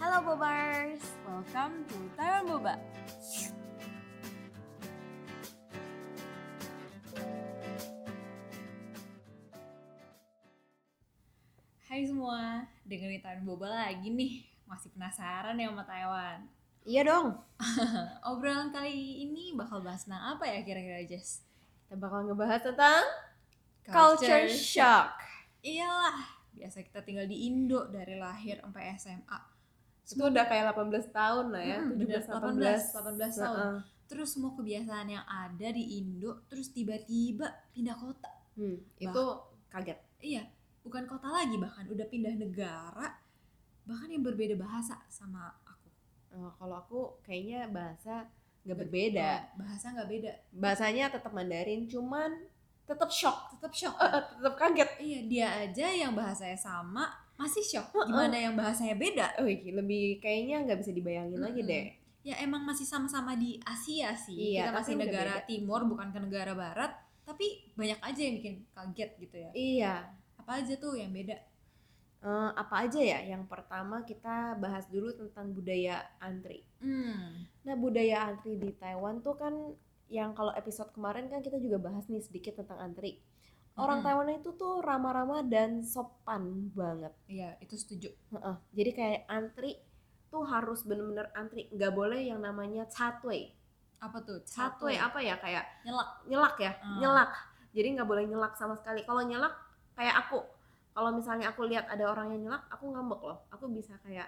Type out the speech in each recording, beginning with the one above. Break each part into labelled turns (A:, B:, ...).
A: Halo Bobers, welcome to Taiwan Boba. Hai semua, dengerin Taiwan Boba lagi nih. Masih penasaran ya sama Taiwan?
B: Iya dong,
A: Obrolan kali ini bakal bahas tentang apa ya kira-kira Jess?
B: kita bakal ngebahas tentang culture shock.
A: Iyalah, biasa kita tinggal di Indo dari lahir sampai SMA.
B: Itu udah kayak 18 tahun lah ya,
A: Hmm, 18,
B: 17
A: 18 tahun.
B: Heeh.
A: Terus semua kebiasaan yang ada di Indo, terus tiba-tiba pindah kota.
B: Hmm, itu kaget.
A: Iya, bukan kota lagi bahkan udah pindah negara, bahkan yang berbeda bahasa sama aku.
B: Eh, kalau aku kayaknya bahasa nggak berbeda.
A: Iya, Bahasa nggak beda,
B: Bahasanya tetap Mandarin, cuman tetap shock,
A: tetap shock.
B: tetap kaget.
A: Iya, dia aja yang bahasanya sama masih shock.
B: Uh-uh.
A: Gimana yang bahasanya beda?
B: Wih, lebih kayaknya nggak bisa dibayangin lagi
A: Mm-mm.
B: deh.
A: Ya emang masih sama-sama di Asia sih.
B: Iya,
A: Kita
B: tapi
A: masih
B: udah
A: negara
B: beda.
A: timur bukan ke negara barat, tapi banyak aja yang bikin kaget gitu ya.
B: Iya.
A: Apa aja tuh yang beda?
B: Eh, apa aja ya? Yang pertama kita bahas dulu tentang budaya antri.
A: Hmm.
B: Nah, budaya antri di Taiwan tuh kan yang kalau episode kemarin kan kita juga bahas nih sedikit tentang antri. Orang
A: Mm-mm.
B: Taiwan itu tuh ramah-ramah dan sopan banget.
A: Iya, itu setuju.
B: Heeh. Jadi kayak antri tuh harus bener-bener antri, nggak boleh yang namanya catway.
A: Apa tuh?
B: Catway apa ya kayak
A: Nyelak.
B: nyelak ya,
A: Hmm.
B: nyelak. Jadi nggak boleh nyelak sama sekali. Kalau nyelak kayak aku, kalau misalnya aku lihat ada orang yang nyelak, aku ngambek loh. Aku bisa kayak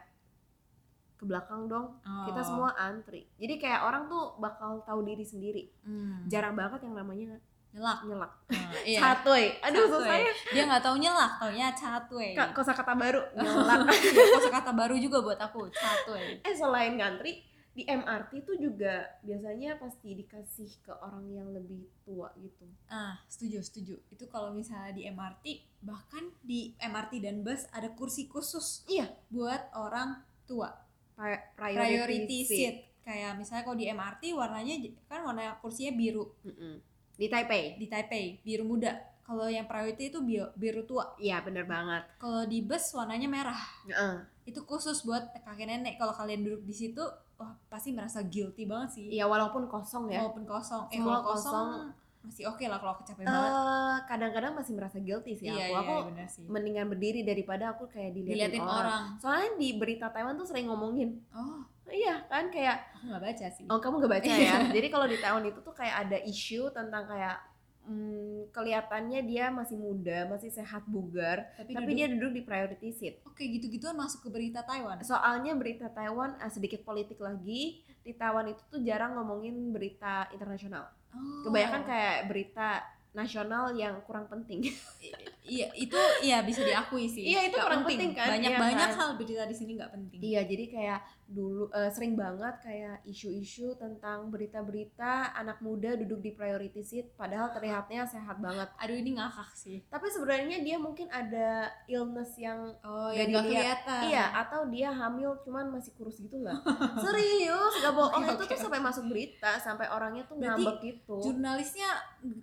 B: ke belakang dong, kita
A: Oh.
B: semua antri jadi kayak orang tuh bakal tahu diri sendiri
A: Hmm.
B: jarang banget yang namanya
A: nyelak.
B: nyelak
A: Nah,
B: yeah.
A: iya.
B: aduh ya.
A: Catway.
B: susahnya
A: Dia nggak tau nyelak, taunya catway.
B: Ka- kosakata baru nyelak
A: Iya, kosakata baru juga buat aku, catway.
B: eh selain ngantri di MRT tuh juga biasanya pasti dikasih ke orang yang lebih tua gitu
A: Ah, setuju, setuju. Itu kalau misalnya di MRT, bahkan di MRT dan bus ada kursi khusus
B: Iya.
A: buat orang tua.
B: Pri-
A: Priority seat. Kayak misalnya kalau di MRT warnanya j- kan warna kursinya biru
B: Mm-mm. di Taipei
A: di Taipei, biru muda. Kalau yang priority itu bio- biru tua.
B: iya bener
A: Hmm.
B: banget
A: Kalau di bus warnanya merah.
B: Heeh.
A: Itu khusus buat kakek nenek. Kalau kalian duduk di situ, wah pasti merasa guilty banget sih.
B: iya walaupun kosong ya
A: walaupun kosong eh
B: Kalau
A: kalau kosong,
B: kosong-
A: masih oke lah kalau kecapean banget
B: Eh, kadang-kadang masih merasa guilty sih
A: iya
B: Eh, aku
A: iya
B: aku
A: benar sih
B: mendingan berdiri daripada aku kayak diliatin,
A: diliatin
B: orang.
A: orang.
B: soalnya di berita Taiwan tuh sering ngomongin
A: oh
B: iya kan kayak
A: aku nggak baca sih
B: oh kamu gak baca ya jadi kalau di Taiwan itu tuh kayak ada isu tentang kayak hmm, kelihatannya dia masih muda masih sehat bugar
A: tapi,
B: tapi dia duduk di priority seat
A: oke gitu-gituan masuk ke berita Taiwan
B: soalnya berita Taiwan ah, sedikit politik lagi di Taiwan itu tuh jarang ngomongin berita internasional
A: oh.
B: kebanyakan kayak berita nasional yang kurang penting
A: I- iya itu iya bisa diakui sih
B: Iya, itu
A: Nggak
B: kurang penting kan?
A: banyak
B: Iya
A: banyak
B: kan?
A: hal berita di sini nggak penting
B: Iya, jadi kayak dulu eh, sering banget kayak isu-isu tentang berita-berita anak muda duduk di priority seat padahal terlihatnya sehat banget.
A: aduh ini ngakak sih
B: Tapi sebenarnya dia mungkin ada illness yang
A: oh ya
B: Nggak
A: nggak
B: dilihat.
A: kelihatan
B: iya atau dia hamil cuman masih kurus gitu lah. Serius, gak bohong
A: Oke,
B: itu
A: oke,
B: tuh sampai masuk berita sampai orangnya tuh
A: Berarti
B: ngambek gitu.
A: jurnalisnya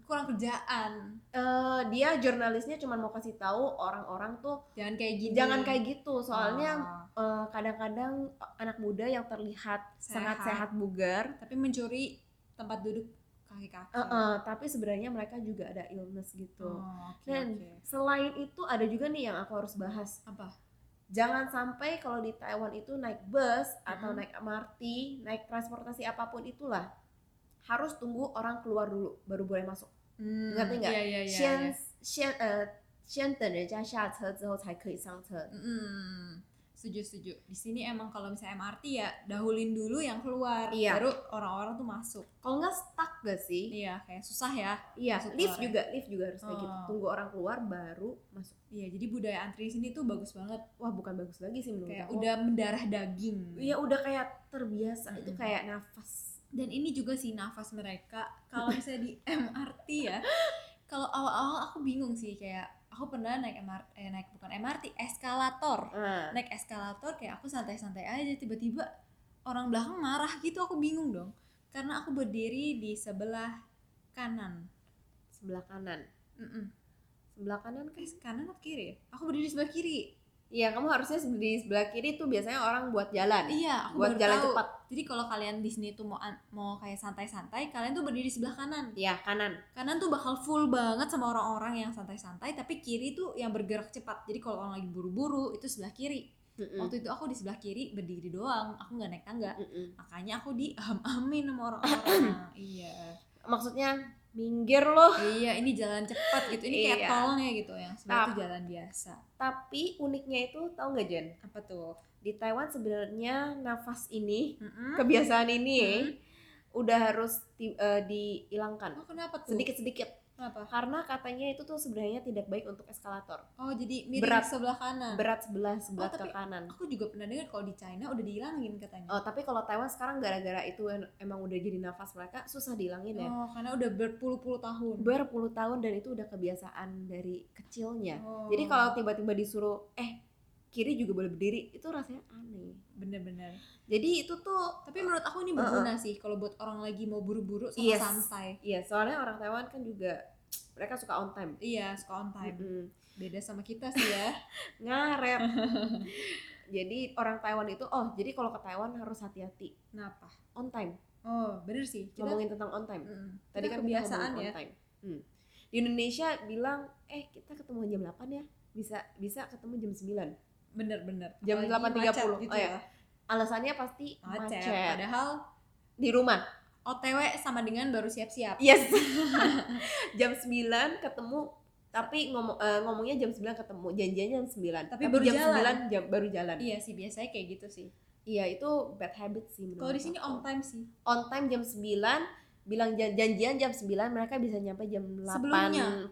A: kurang kerjaan
B: Eh, dia jurnalisnya cuman mau kasih tahu orang-orang tuh
A: jangan kayak gini
B: jangan kayak gitu soalnya
A: Ah,
B: eh, kadang-kadang anak muda yang terlihat sangat
A: Sehat.
B: sehat bugar
A: tapi mencuri tempat duduk kakek-kakek
B: Heeh, tapi sebenarnya mereka juga ada illness gitu.
A: Hmm. Oh, oke,
B: Dan-
A: oke.
B: Selain itu ada juga nih yang aku harus bahas.
A: apa
B: Jangan sampai kalau di Taiwan itu naik bus atau
A: Mm-mm.
B: naik MRT, naik transportasi apapun itulah harus tunggu orang keluar dulu baru boleh masuk.
A: Hmm,
B: Ngerti nggak?
A: Iya, iya, iya.
B: Sian
A: iya.
B: sian eh, sian dan reja sha ce zhou cai kei sang ce.
A: Hmm, setuju, setuju. Di sini emang kalau misalnya MRT ya dahulin dulu yang keluar,
B: Iya.
A: baru orang-orang tuh masuk.
B: Kalau nggak stuck gak sih?
A: Iya, kayak susah ya.
B: Iya,
A: Masuk
B: lift
A: keluar ya.
B: juga, lift juga harus kayak gitu.
A: Oh.
B: Tunggu orang keluar baru masuk.
A: Iya, jadi budaya antri sini tuh bagus banget.
B: Wah, bukan bagus lagi sih menurut
A: Kayak
B: aku.
A: udah mendarah daging.
B: Iya, udah kayak terbiasa. Itu
A: Mm-mm.
B: kayak nafas.
A: Dan ini juga sih nafas mereka kalau misalnya di MRT ya. Kalau awal-awal aku bingung sih kayak aku pernah naik MRT eh, naik bukan MRT, eskalator.
B: Ah.
A: naik eskalator kayak aku santai-santai aja tiba-tiba orang belakang marah gitu aku bingung dong karena aku berdiri di sebelah kanan
B: sebelah kanan
A: Mm-mm.
B: sebelah kanan kan
A: Guys, kanan atau kiri ya? Aku berdiri sebelah kiri.
B: iya kamu harusnya di sebelah kiri tuh biasanya orang buat jalan
A: Iya, aku
B: buat
A: baru
B: jalan
A: tahu.
B: cepat
A: Jadi kalau kalian di sini tuh mau an- mau kayak santai-santai, kalian tuh berdiri sebelah kanan.
B: ya kanan
A: Kanan tuh bakal full banget sama orang-orang yang santai-santai, tapi kiri tuh yang bergerak cepat. Jadi kalau orang lagi buru-buru itu sebelah kiri.
B: Mm-mm.
A: Waktu itu aku di sebelah kiri berdiri doang, aku nggak naik tangga.
B: Mm-mm.
A: Makanya aku di amin sama orang-orang. iya.
B: maksudnya minggir loh
A: Iya, ini jalan cepat gitu. Ini kayak
B: Iya.
A: tol nih gitu yang sebelah
B: Tap.
A: tuh jalan biasa.
B: tapi uniknya itu tahu nggak Jen
A: Apa tuh?
B: di Taiwan sebenarnya nafas ini
A: Mm-mm.
B: kebiasaan ini ya,
A: Hmm.
B: udah harus di- eh, dihilangkan
A: Oh, kenapa tuh?
B: sedikit sedikit
A: Kenapa?
B: karena katanya itu tuh sebenarnya tidak baik untuk eskalator
A: Oh jadi miring
B: Berat.
A: sebelah kanan.
B: berat sebelah sebelah
A: Oh,
B: ke
A: tapi-
B: kanan
A: Aku juga pernah dengar kalau di China udah dihilangin katanya.
B: oh tapi kalau Taiwan sekarang gara-gara itu en- emang udah jadi nafas mereka susah dihilangin ya
A: Oh, karena udah berpuluh-puluh tahun.
B: berpuluh tahun dan itu udah kebiasaan dari kecilnya
A: Oh,
B: ya. jadi kalau tiba-tiba disuruh eh kiri juga boleh berdiri itu rasanya aneh
A: bener-bener.
B: jadi itu tuh
A: Tapi menurut aku ini berguna sih kalau buat orang lagi mau buru-buru sama
B: Yes.
A: santai.
B: iya soalnya orang Taiwan kan juga mereka suka on time
A: Iya, suka on time.
B: Mm-mm.
A: Beda sama kita sih ya.
B: ngaret jadi orang Taiwan itu oh jadi kalau ke Taiwan harus hati-hati
A: Kenapa?
B: on time
A: Oh, bener sih. Kita
B: ngomongin tentang on time
A: Mm-mm.
B: tadi
A: Kita
B: kan
A: kebiasaan
B: kita ngomongin
A: ya.
B: on time Hmm. di Indonesia bilang eh kita ketemu jam 8 ya bisa bisa ketemu jam 9
A: Bener-bener.
B: Jam
A: Apalagi
B: 8.30.
A: macet Gitu
B: Oh,
A: ya.
B: alasannya pasti
A: Macet.
B: macet,
A: Padahal
B: di rumah
A: OTW sama dengan baru siap-siap.
B: yes jam 9 ketemu tapi ngomong eh, ngomongnya jam 9 ketemu janjiannya jam 9
A: Tapi baru
B: jam
A: jalan.
B: 9 jam, baru jalan
A: Iya sih, biasanya kayak gitu sih.
B: iya itu bad habit sih
A: Kalau
B: menurut
A: di sini
B: aku.
A: on time sih.
B: on time jam 9 bilang jan- janjian jam 9 mereka bisa nyampe jam
A: Sebelumnya.
B: 8.45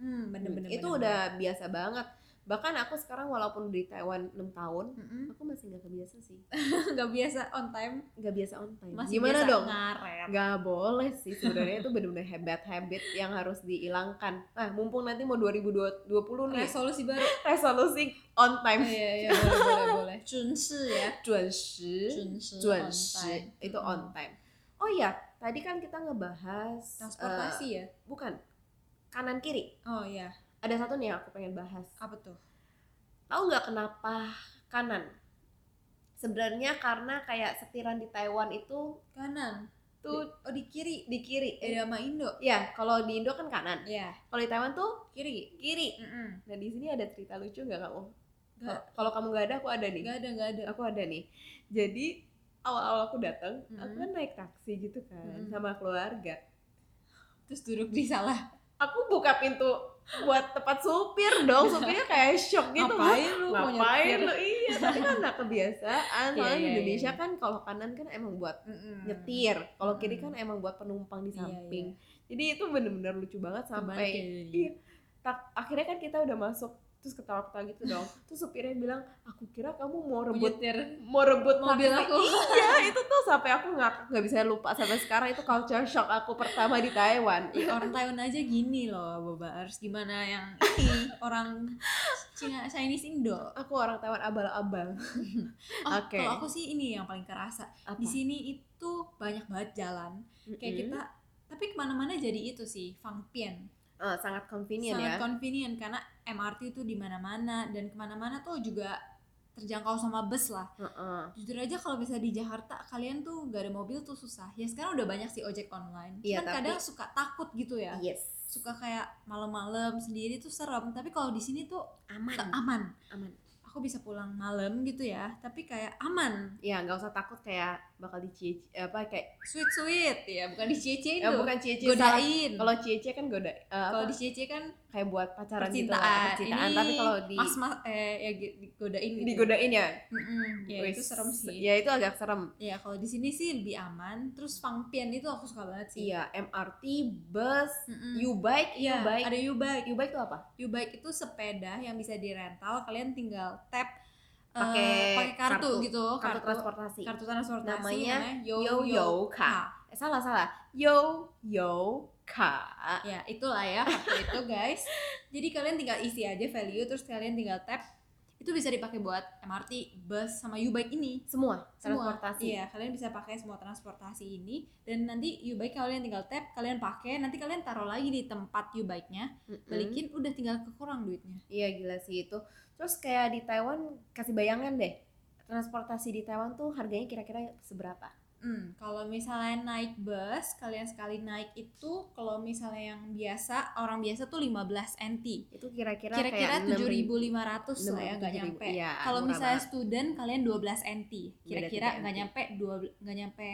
B: Hmm,
A: Hmm, bener-bener.
B: itu udah biasa banget bahkan aku sekarang walaupun di Taiwan 6 tahun aku masih nggak kebiasa sih
A: nggak biasa on time
B: nggak biasa on time
A: masih
B: gimana
A: biasa
B: dong
A: ngaret
B: nggak boleh sih sebenarnya itu benar-benar habit habit yang harus dihilangkan nah mumpung nanti mau 2020 nih
A: resolusi baru
B: resolusi on time
A: iya iya boleh boleh boleh Junshi ya
B: 准时
A: Junshi on
B: 准时
A: time.
B: itu on time oh iya tadi kan kita ngebahas eh,
A: transportasi ya
B: bukan kanan kiri
A: oh iya
B: ada satu nih yang aku pengen bahas
A: apa tuh
B: tahu nggak kenapa kanan sebenarnya karena kayak setiran di Taiwan itu
A: kanan
B: tuh
A: oh di kiri
B: di kiri Eh,
A: beda sama Indo
B: ya kalau di Indo kan kanan
A: ya
B: kalau di Taiwan tuh
A: kiri
B: kiri
A: Mm-mm.
B: nah di sini ada cerita lucu nggak kamu
A: Nggak.
B: kalau kamu nggak ada aku ada nih
A: nggak ada nggak ada
B: aku ada nih jadi awal-awal aku datang
A: Mm-mm.
B: aku kan naik taksi gitu kan
A: Mm-mm.
B: sama keluarga
A: terus duduk di salah
B: aku buka pintu buat tempat supir dong supirnya kayak shock gitu
A: ngapain lu mau nyetir?
B: ngapain lu iya tapi kan nggak kebiasaan
A: Iya,
B: soalnya di
A: iya,
B: Indonesia
A: iya.
B: kan kalau kanan kan emang buat
A: Mm-mm.
B: nyetir kalau kiri
A: Mm.
B: kan emang buat penumpang di
A: Iya,
B: samping jadi itu bener-bener lucu
A: iya.
B: banget
A: Kebalik
B: sampai
A: ya jadi.
B: iya tak- akhirnya kan kita udah masuk terus ketawa-ketawa gitu dong terus supirnya bilang aku kira kamu mau
A: Mau
B: rebut
A: nyetir
B: mau rebut
A: mobil
B: taksi."
A: aku
B: iya itu tuh sampai aku nggak nggak bisa lupa sampai sekarang itu culture shock aku pertama di Taiwan
A: Ih, orang Taiwan aja gini loh Bobaars gimana yang ini orang Cina Chinese Indo
B: aku orang Taiwan abal-abal
A: Oh,
B: Oke.
A: kalau aku sih ini yang paling kerasa.
B: Apa? Hmm.
A: Di sini itu banyak banget jalan. Kayak
B: Mm-mm.
A: kita, tapi kemana-mana jadi itu sih, fangpian.
B: Eh, sangat convenient
A: Sangat
B: ya
A: convenient karena MRT itu di mana-mana dan kemana-mana tuh juga terjangkau sama bus lah.
B: Heeh.
A: Jujur aja kalau bisa di Jakarta kalian tuh gak ada mobil tuh susah. Ya sekarang udah banyak sih ojek online.
B: Iya,
A: Cuman
B: tapi- Iya.
A: kadang suka takut gitu ya.
B: yes
A: Suka kayak malam-malam sendiri tuh serem. Tapi kalau di sini tuh
B: aman
A: aman.
B: aman
A: Aku bisa pulang malam gitu ya. Tapi kayak aman.
B: ya nggak usah takut kayak bakal dicie apa kayak
A: sweet sweet ya bukan dicecein
B: ya,
A: loh
B: bukan cie salah
A: godain
B: kalau cie kan goda eh,
A: kalau
B: apa,
A: dicece kan
B: kayak buat pacaran gitu lah,
A: percintaan,
B: percintaan
A: Ini
B: tapi kalau di
A: mas mas eh ya gi- digodain gitu
B: digodain ya
A: Mm-mm. ya
B: wis,
A: itu serem sih ya,
B: ya itu agak serem
A: kalau di sini sih lebih aman terus pangpian itu aku suka banget sih
B: iya MRT bus
A: Mm-mm.
B: U-bike
A: Iya,
B: U-bike
A: ada U-bike.
B: U-bike itu apa
A: U-bike itu sepeda yang bisa dirental. Kalian tinggal tap eh,
B: Pakai
A: pakai kartu,
B: kartu.
A: gitu,
B: kartu, transportasi
A: kartu transportasi
B: Namanya
A: Yo
B: Yo Yo Ka eh, salah salah Yo Yo Ka
A: ya itulah ya kartu itu guys jadi kalian tinggal isi aja value terus kalian tinggal tap itu itu bisa dipakai buat MRT, bus sama U-Bike ini.
B: Semua,
A: Semua.
B: transportasi.
A: Iya, kalian bisa pakai semua transportasi ini dan nanti U-Bike kalian tinggal tap, kalian pakai, nanti kalian taruh lagi di tempat U-Bike-nya,
B: Mm-mm.
A: balikin udah tinggal kekurang duitnya.
B: Iya gila sih itu. Terus kayak di Taiwan kasih bayangan deh. Transportasi di Taiwan tuh harganya kira-kira seberapa?
A: Hmm, kalau misalnya naik bus, kalian sekali naik itu kalau misalnya yang biasa, orang biasa tuh 15 NT.
B: Itu kira-kira
A: Kira-kira
B: kayak 6.000.
A: 7.500 lah ya, nggak
B: 6.000,
A: nyampe.
B: iya,
A: kalau
B: murah
A: misalnya
B: banget.
A: student kalian 12 NT. Kira-kira
B: tiga
A: nggak
B: NT.
A: nyampe 2 nggak nyampe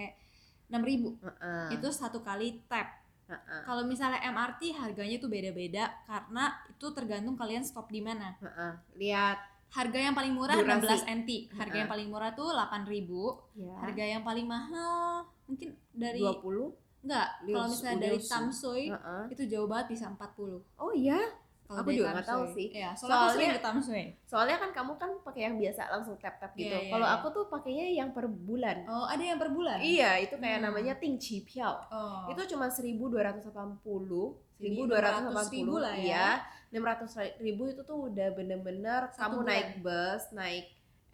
A: 6.000.
B: Heeh,
A: Itu satu kali tap.
B: Ah. heeh,
A: Kalau misalnya MRT harganya tuh beda-beda karena itu tergantung kalian stop di mana.
B: heeh. Lihat
A: Harga yang paling murah 16
B: Durasi.
A: NT. Harga yang paling murah tuh 8.000.
B: ya.
A: Harga yang paling mahal mungkin Iya. dari
B: 20.
A: Enggak,
B: Liu-
A: kalau misalnya dari
B: Liusu.
A: Tamsoy
B: Heeh.
A: itu jauh banget bisa 40.
B: Oh iya,
A: Kalau
B: Aku
A: dari
B: juga nggak
A: Tamsoy.
B: tahu sih.
A: Iya, soalnya, aku sering
B: Soalnya-
A: ke Tamsoy.
B: soalnya kan kamu kan pakai yang biasa langsung tap tap gitu.
A: Iya, iya,
B: Kalau
A: iya.
B: aku tuh pakainya yang per bulan.
A: Oh, ada yang per bulan?
B: Iya, itu kayak
A: Hmm.
B: namanya ting chi piao.
A: Oh.
B: Itu cuma 1280,
A: 600 ribu
B: 1280
A: lah ya.
B: iya. 600 ribu itu tuh udah bener-bener kamu
A: Satu bulan.
B: naik bus, naik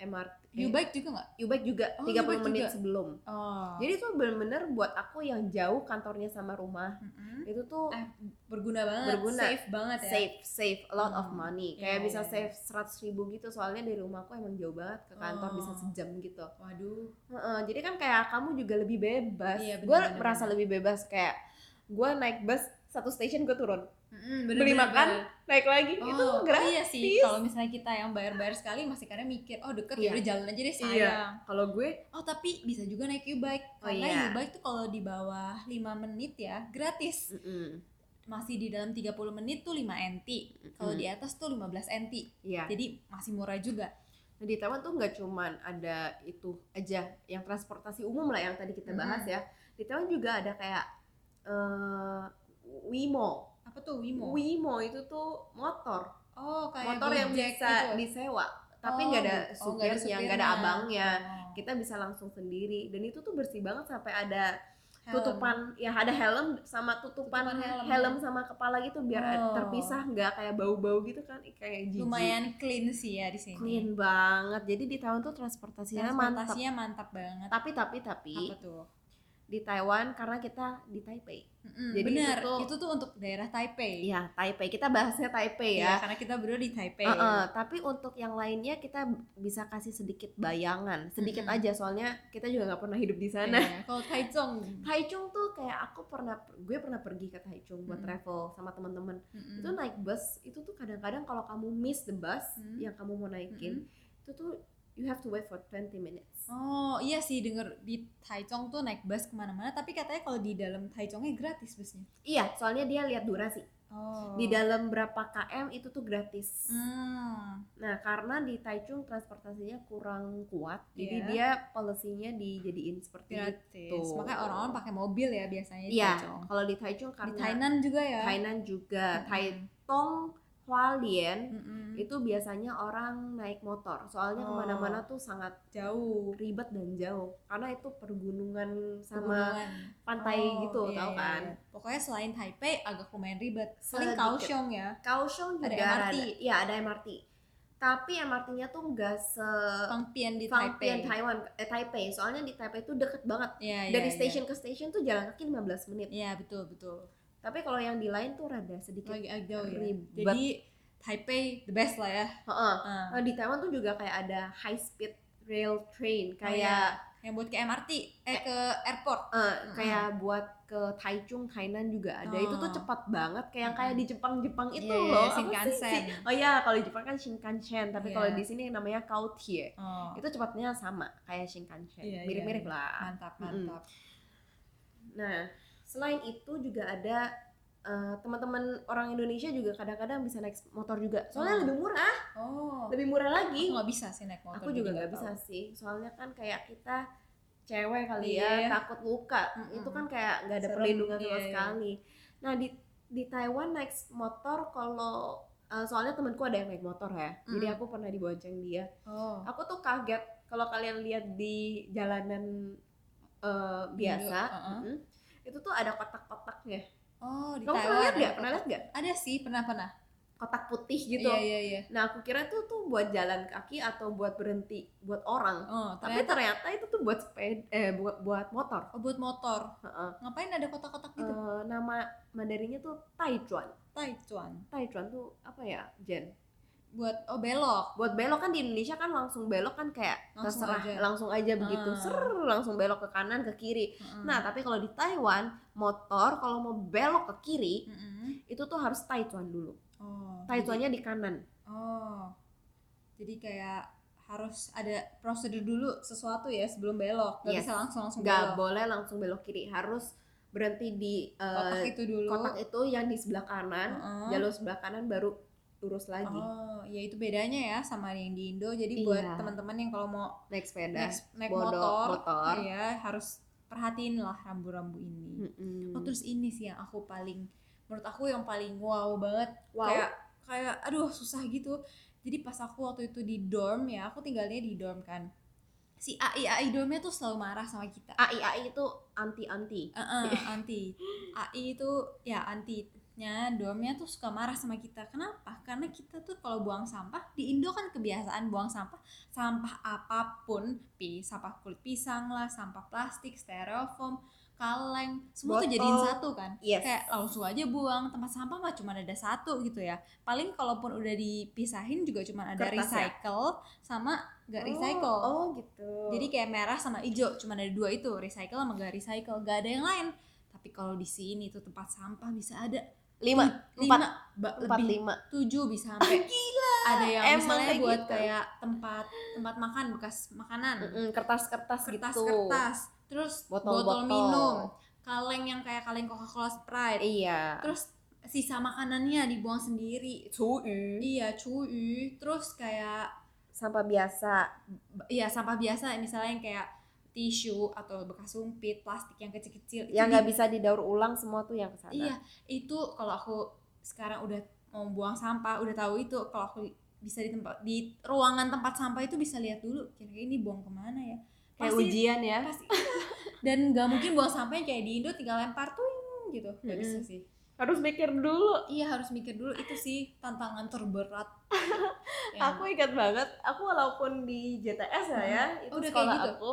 B: MRT, eh,
A: U-Bike juga nggak?
B: U-Bike juga
A: Oh,
B: 30
A: U-Bike
B: menit
A: juga.
B: sebelum.
A: Oh.
B: Jadi itu bener-bener buat aku yang jauh kantornya sama rumah.
A: Mm-mm.
B: Itu tuh
A: Eh, berguna banget,
B: Berguna.
A: safe banget ya.
B: save save a lot of
A: Hmm. Iya,
B: money. Kayak bisa
A: iya,
B: save 100 ribu gitu soalnya dari rumahku emang jauh banget ke kantor
A: Oh.
B: bisa sejam gitu.
A: Waduh.
B: Heeh, jadi kan kayak kamu juga lebih bebas.
A: Iya, bener,
B: gue
A: bener,
B: merasa
A: bener.
B: lebih bebas kayak gue naik bus satu station gue turun
A: Mm-mm,
B: beli
A: bener-bener
B: makan
A: bener.
B: naik lagi
A: Oh,
B: itu gratis.
A: iya sih. Kalau misalnya kita yang bayar-bayar sekali masih karena mikir, oh deket ya
B: Iya.
A: udah jalan aja deh sayang.
B: Iya. Kalau gue
A: Oh tapi bisa juga naik U-Bike
B: Oh,
A: karena
B: iya.
A: U-Bike tuh kalau di bawah 5 menit ya gratis. Masih di dalam 30 menit tuh 5 NT. Kalau
B: Hmm.
A: di atas tuh 15 NT.
B: Iya.
A: Jadi masih murah juga.
B: Nah, di Taiwan tuh nggak cuman ada itu aja yang transportasi umum lah yang tadi kita bahas ya. Di Taiwan juga ada kayak eh Wimo.
A: Apa tuh Wimo?
B: Wimo itu tuh motor,
A: oh kayak
B: motor yang
A: Gojek
B: bisa
A: gitu.
B: disewa, tapi
A: Oh,
B: nggak ada
A: oh, nggak ada
B: supirnya, nggak ada
A: supirnya.
B: abangnya.
A: Oh.
B: Kita bisa langsung sendiri dan itu tuh bersih banget sampai ada
A: Helm.
B: tutupan ya ada helm sama tutupan,
A: Tutupan
B: helm.
A: helm. ya.
B: sama kepala gitu biar
A: Oh.
B: terpisah nggak kayak bau-bau gitu kan Ih, kayak jijik.
A: lumayan clean sih ya di sini.
B: clean banget jadi di Taiwan tuh transportasinya mantap
A: Transportasinya mantap banget.
B: tapi tapi tapi
A: Apa tuh?
B: di Taiwan karena kita di Taipei
A: Mm-mm,
B: Jadi
A: bener, itu
B: itu tuh-
A: tuh, untuk daerah Taipei. Iya,
B: Iya Taipei kita bahasnya Taipei ya
A: karena kita berdua di Taipei. Iya,
B: Heeh, tapi untuk yang lainnya kita bisa kasih sedikit bayangan sedikit
A: Mm-mm.
B: aja soalnya kita juga nggak pernah hidup di sana
A: Iya, Kalau Taichung.
B: Taichung tuh kayak aku pernah gue pernah pergi ke Taichung buat
A: Mm-mm.
B: travel sama temen-temen
A: Mm-mm.
B: itu naik bus itu tuh kadang-kadang kalau kamu miss the bus
A: Hmm.
B: yang kamu mau naikin itu tuh you have to wait for 20 minutes
A: Oh iya sih denger di Taichung tuh naik bus kemana-mana tapi katanya kalau di dalam Taichungnya gratis busnya.
B: iya soalnya dia lihat durasi
A: Oh.
B: di dalam berapa km itu tuh gratis
A: Hmm.
B: nah karena di Taichung transportasinya kurang kuat jadi
A: Iya.
B: dia polisinya dijadiin seperti itu
A: Gratis. Ya, Makanya orang-orang pakai mobil ya biasanya di
B: Gitu. iya
A: Taichung.
B: kalau di Taichung
A: Di
B: karena
A: Tainan juga ya.
B: Tainan juga
A: Mm-mm.
B: Taitung Hualien
A: Mm-mm.
B: itu biasanya orang naik motor soalnya
A: Oh.
B: kemana-mana tuh sangat
A: jauh.
B: ribet dan jauh karena itu pergunungan sama
A: Pegunungan.
B: pantai
A: Oh,
B: gitu
A: iya,
B: tau
A: iya,
B: kan
A: iya. Pokoknya selain Taipei agak lumayan ribet. Paling
B: Sedikit.
A: Kaohsiung ya.
B: Kaohsiung
A: Ada
B: juga
A: MRT.
B: ada- iya ada MRT tapi MRT-nya tuh nggak se
A: Fangpian Oh, di
B: Fangpian
A: Taipei.
B: Taiwan eh, Taipei soalnya di Taipei tuh deket banget
A: Iya, iya,
B: dari
A: iya.
B: station ke station tuh jalan kaki 15 menit
A: Iya, betul, betul.
B: tapi kalau yang di lain tuh rada sedikit
A: Lagi agak jauh ya.
B: Ribet.
A: Jadi Taipei the best lah ya.
B: Heeh.
A: Ah,
B: Nah, di Taiwan tuh juga kayak ada high speed rail
A: Oh, iya.
B: train kayak
A: yang buat ke MRT eh ke airport.
B: eh, kayak buat ke Taichung Tainan juga ada itu tuh
A: Oh.
B: cepat banget kayak kayak di Jepang Jepang itu
A: Iya, iya,
B: loh Apa sih,
A: Shinkansen.
B: sih? oh iya kalau di Jepang kan Shinkansen tapi
A: Iya.
B: kalau di sini namanya Kaotie
A: Oh,
B: itu cepatnya sama kayak Shinkansen
A: Iya, iya,
B: mirip-mirip
A: iya.
B: lah
A: mantap,
B: Mm-mm.
A: mantap.
B: Nah, selain itu juga ada eh, teman-teman orang Indonesia juga kadang-kadang bisa naik motor juga. Soalnya
A: Hmm.
B: lebih murah,
A: Oh.
B: lebih murah
A: Aku
B: lagi.
A: nggak bisa sih naik motor.
B: Aku juga
A: jadi
B: nggak bisa
A: tahu.
B: sih. Soalnya kan kayak kita cewek kali ya,
A: Iya.
B: takut luka.
A: Mm-mm.
B: Itu kan kayak nggak ada
A: Serem,
B: perlindungan
A: iya,
B: sama
A: iya.
B: sekali. Nah, di di Taiwan naik motor kalau eh, soalnya temanku ada yang naik motor ya. Jadi
A: Mm.
B: aku pernah dibonceng dia.
A: Oh.
B: Aku tuh kaget kalau kalian lihat di jalanan eh, biasa,
A: Indo, uh-uh.
B: mm-mm, itu tuh ada kotak-kotaknya.
A: Oh, di
B: Kamu pernah
A: Taiwan ya?
B: lihat nggak?
A: ada
B: Pernah lihat nggak?
A: Ada sih, pernah pernah.
B: kotak putih gitu.
A: Iya iya iya.
B: Nah, aku kira itu tuh buat jalan kaki atau buat berhenti buat orang.
A: Oh,
B: Tapi
A: ternyata
B: ternyata itu tuh buat sepeda eh buat buat motor.
A: oh, buat motor.
B: Heeh.
A: Ngapain ada kotak-kotak gitu?
B: Eh, nama Mandarinnya tuh Taichuan.
A: Taichuan.
B: Taichuan tuh apa ya, Jen?
A: Buat oh belok.
B: Buat belok kan di Indonesia kan langsung belok kan kayak
A: Langsung
B: terserah,
A: aja.
B: langsung aja begitu,
A: Ah.
B: ser langsung belok ke kanan ke kiri.
A: Mm-mm.
B: Nah, tapi kalau di Taiwan motor kalau mau belok ke kiri
A: Mm-mm.
B: itu tuh harus Taichuan dulu.
A: Oh. jadi-
B: Taichuannya di kanan.
A: Oh. Jadi kayak harus ada prosedur dulu sesuatu ya sebelum belok. Gak
B: Yes.
A: bisa langsung langsung belok.
B: nggak boleh langsung belok kiri harus berhenti di
A: Kotak
B: eh,
A: itu dulu.
B: kotak itu yang di sebelah kanan
A: Heeh.
B: jalur sebelah kanan baru lurus lagi
A: Oh, ya itu bedanya ya sama yang di Indo. Jadi
B: Iya.
A: buat teman-teman yang kalau mau
B: naik sepeda
A: naik, naik
B: bodoh,
A: motor,
B: motor. Hmm.
A: ya harus perhatiin lah rambu-rambu ini.
B: Mm-mm.
A: Oh, terus ini sih yang aku paling menurut aku yang paling wow banget
B: wow
A: kayak kayak aduh susah gitu. Jadi pas aku waktu itu di dorm ya, aku tinggalnya di dorm kan. Si AI AI dormnya tuh selalu marah sama kita.
B: AI AI itu anti anti
A: Heeh, anti. AI itu ya antinya dormnya tuh suka marah sama kita. Kenapa? Karena kita tuh kalau buang sampah di Indo kan kebiasaan buang sampah sampah apapun, pi sampah kulit pisang lah, sampah plastik, styrofoam, kaleng, semua tuh
B: Botol.
A: jadiin satu kan.
B: yes
A: Kayak langsung aja buang tempat sampah mah cuma ada satu gitu ya. Paling kalaupun udah dipisahin juga cuma ada
B: Kertas ya?
A: recycle sama gak
B: Oh,
A: recycle.
B: oh, gitu
A: Jadi kayak merah sama hijau cuma ada dua itu, recycle sama gak recycle, gak ada yang lain. Tapi kalau di sini tuh tempat sampah bisa ada
B: lima
A: tuj-
B: empat
A: lima, ba-
B: empat
A: lebih
B: lima Ah,
A: tujuh bisa sampai ada yang
B: emang
A: misalnya
B: kayak
A: buat
B: gitu.
A: kayak tempat tempat makan bekas makanan,
B: Mm-mm, kertas-kertas gitu
A: kertas-kertas, terus botol,
B: Botol-botol.
A: minum, kaleng yang kayak kaleng Coca-Cola Sprite,
B: iya
A: terus sisa makanannya dibuang sendiri.
B: cuy
A: Iya, cuy. Terus kayak
B: sampah biasa
A: Iya sampah biasa misalnya yang kayak tisu atau bekas sumpit plastik yang kecil-kecil itu
B: yang
A: di-
B: nggak bisa didaur ulang semua tuh yang kesana
A: iya itu kalau aku sekarang udah mau buang sampah udah tahu itu kalau aku bisa di tempat di ruangan tempat sampah itu bisa lihat dulu kira-kira ini buang kemana ya
B: kayak
A: Pasti-
B: ujian ya
A: pasti iya. dan nggak mungkin buang sampahnya kayak di Indo tinggal lempar tuh gitu nggak bisa
B: Mm-mm.
A: sih
B: harus mikir dulu
A: iya harus mikir dulu itu sih tantangan terberat Yang-
B: Aku ingat banget, aku walaupun di JTS lah ya, itu
A: Udah kayak
B: sekolah
A: gitu?
B: aku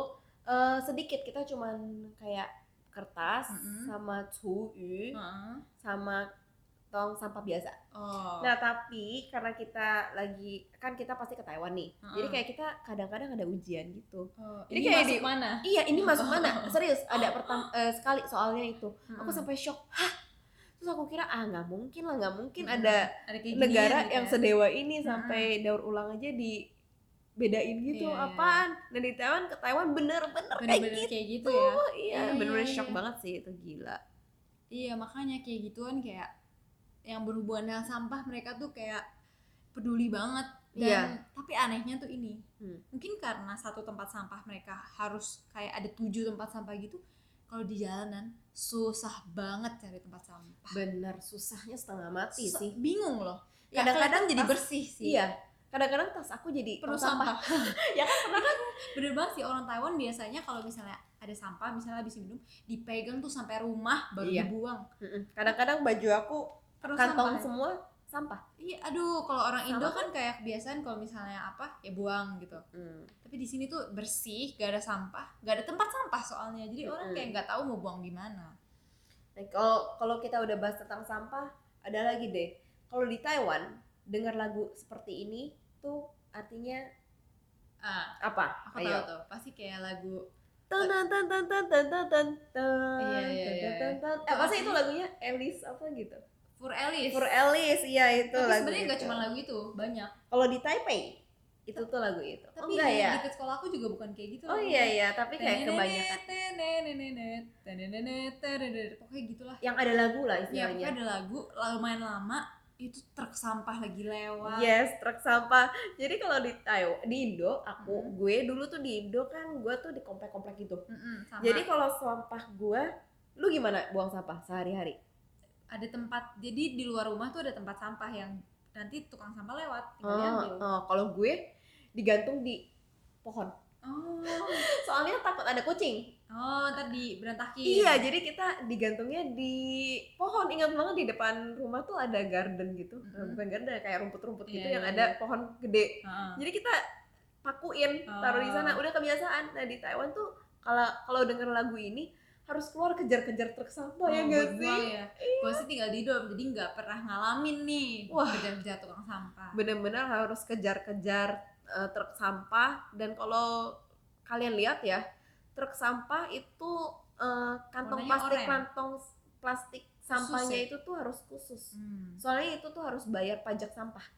B: eh, sedikit kita cuman kayak kertas
A: Mm-mm. Mm.
B: sama cuy
A: Heeh.
B: sama tong sampah biasa.
A: oh
B: Nah tapi karena kita lagi kan kita pasti ke Taiwan nih,
A: Mm-mm.
B: jadi kayak kita kadang-kadang ada ujian gitu.
A: Oh, ini
B: ini kayak
A: masuk
B: di-
A: mana
B: Iya ini masuk mana? Serius ada pertama sekali soalnya itu, aku
A: Heeh.
B: sampai shock. Hah? Terus aku kira ah nggak mungkin lah nggak mungkin
A: Hmm,
B: ada
A: ada kayak
B: negara
A: ginian gitu
B: yang
A: ya.
B: sedewa ini sampai daur ulang aja di bedain gitu
A: Iya, iya,
B: apaan dan di Taiwan ke Taiwan bener-bener kayak
A: bener-bener
B: gitu
A: kayak gitu ya
B: iya
A: Iya,
B: bener-bener
A: iya,
B: shock
A: iya.
B: banget sih itu gila
A: iya makanya kayak gituan kayak yang berhubungan dengan sampah mereka tuh kayak peduli banget dan
B: Iya.
A: tapi anehnya tuh ini
B: Hmm.
A: mungkin karena satu tempat sampah mereka harus kayak ada tujuh tempat sampah gitu kalau di jalanan susah banget cari tempat sampah
B: bener susahnya setengah mati
A: Susah-
B: Iya sih
A: bingung loh ya
B: Kadang-kadang
A: kadang-kadang jadi
B: pas-
A: bersih sih
B: iya kadang-kadang tas aku jadi
A: perlu
B: tong sampah
A: sampah ya kan pernah kan bener banget sih orang Taiwan biasanya kalau misalnya ada sampah misalnya habis minum dipegang tuh sampai rumah baru
B: Iya.
A: dibuang
B: Mm-mm. kadang-kadang baju aku
A: perlu
B: kantong
A: sampah ya?
B: semua sampah
A: Iya, aduh, kalau orang
B: Sama
A: Indo kan kayak kebiasaan kalau misalnya apa ya buang gitu.
B: Mm.
A: Tapi di sini tuh bersih, gak ada sampah, gak ada tempat sampah soalnya. Jadi orang
B: Mm-mm.
A: kayak nggak tahu mau buang di mana.
B: Nah, kalau kalau kita udah bahas tentang sampah, ada lagi deh. Kalau di Taiwan, dengar lagu seperti ini tuh artinya
A: Ah,
B: apa?
A: aku tahu tuh. Pasti kayak lagu
B: Tan tan tan tan tan tan tan tan tan
A: Iya, iya,
B: tan,
A: iya.
B: tan, tan. Eh, masa itu lagunya Alice apa gitu?
A: For Alice.
B: For Alice, iya itu
A: Tapi
B: lagu.
A: sebenarnya nggak
B: itu.
A: cuma lagu itu, banyak.
B: Kalau di Taipei itu tuh lagu itu.
A: Tapi
B: oh enggak
A: di
B: ya?
A: dekat sekolah aku juga bukan kayak gitu.
B: Oh iya iya, tapi kayak kebanyakan
A: Tenenenet, tenenenet, tenenenet. Pokoknya gitulah.
B: yang ada lagu lah
A: Ya, pokoknya
B: istilahnya.
A: ada lagu lumayan lama itu truk sampah lagi lewat.
B: Yes, truk sampah. Jadi kalau di Taiwan, di Indo, aku,
A: Mhm.
B: gue dulu tuh di Indo kan, gue tuh di komplek-komplek gitu.
A: Mm-mm, sama.
B: Jadi kalau sampah gue, lu gimana buang sampah sehari-hari?
A: ada tempat jadi di luar rumah tuh ada tempat sampah yang nanti tukang sampah lewat tinggal
B: Oh,
A: diambil
B: oh, kalau gue digantung di pohon.
A: oh
B: Soalnya takut ada kucing.
A: Oh, ntar di berantakin.
B: Iya, jadi kita digantungnya di pohon. Ingat banget di depan rumah tuh ada garden gitu. Eh,
A: Mhm.
B: Bukan garden, kayak rumput-rumput gitu
A: Iya,
B: yang
A: iya,
B: ada pohon gede.
A: Heeh.
B: Jadi kita pakuin, taruh di sana.
A: Oh.
B: Udah kebiasaan. Nah, di Taiwan tuh kalau kalau denger lagu ini harus keluar kejar-kejar truk sampah
A: Oh,
B: ya
A: buat
B: nggak sih?
A: buang ya? Gue sih tinggal di dorm, jadi nggak pernah ngalamin nih
B: Wah.
A: kerja-kerja tukang sampah.
B: Bener-bener harus kejar-kejar eh, truk sampah dan kalau kalian lihat ya, truk sampah itu eh, kantong
A: Warnanya
B: plastik
A: oranye.
B: kantong s- plastik sampahnya
A: ya?
B: itu tuh harus khusus.
A: Hmm.
B: Soalnya itu tuh harus bayar pajak sampah.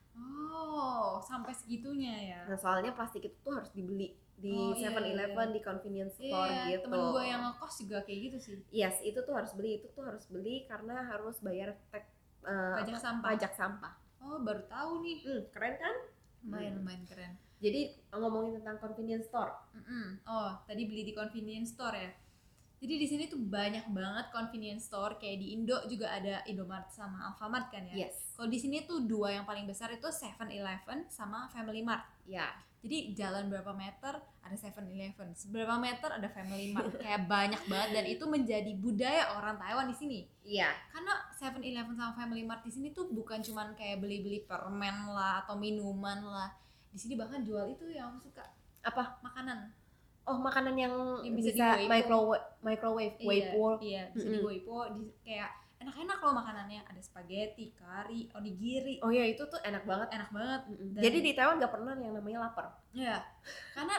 A: Oh, sampai segitunya ya.
B: Nah, soalnya plastik itu tuh harus dibeli di
A: Oh, iya,
B: 7-Eleven,
A: iya.
B: di convenience store
A: Iya,
B: gitu.
A: temen gue yang ngekos juga kayak gitu sih.
B: Yes, itu tuh harus beli, itu tuh harus beli karena harus bayar tek, eh,
A: Pajak sampah.
B: pajak sampah.
A: Oh, baru tahu nih.
B: Hmm, keren kan?
A: Lumayan,
B: Hmm.
A: lumayan keren.
B: Jadi ngomongin tentang convenience store.
A: Mm-mm. Oh, tadi beli di convenience store ya. Jadi di sini tuh banyak banget convenience store kayak di Indo juga ada Indomaret sama Alfamart kan ya.
B: Yes.
A: Kalau di sini tuh dua yang paling besar itu 7-Eleven sama Family Mart.
B: Ya.
A: Jadi jalan berapa meter ada 7-Eleven, seberapa meter ada Family Mart. Kayak banyak banget dan itu menjadi budaya orang Taiwan di sini.
B: Iya.
A: Karena 7-Eleven sama Family Mart di sini tuh bukan cuman kayak beli-beli permen lah atau minuman lah. Di sini bahkan jual itu yang aku suka.
B: Apa?
A: Makanan.
B: Oh, makanan yang,
A: Yang bisa
B: bisa,
A: di Weibo.
B: microwave microwave
A: Iya,
B: Weibo.
A: Iya, bisa di
B: Mm-mm.
A: Weibo di- kayak enak-enak loh makanannya. Ada spaghetti, kari, onigiri.
B: Oh iya, itu tuh enak banget.
A: Enak banget.
B: Mm-mm.
A: Dan-
B: Jadi di Taiwan nggak pernah yang namanya lapar.
A: Iya. Karena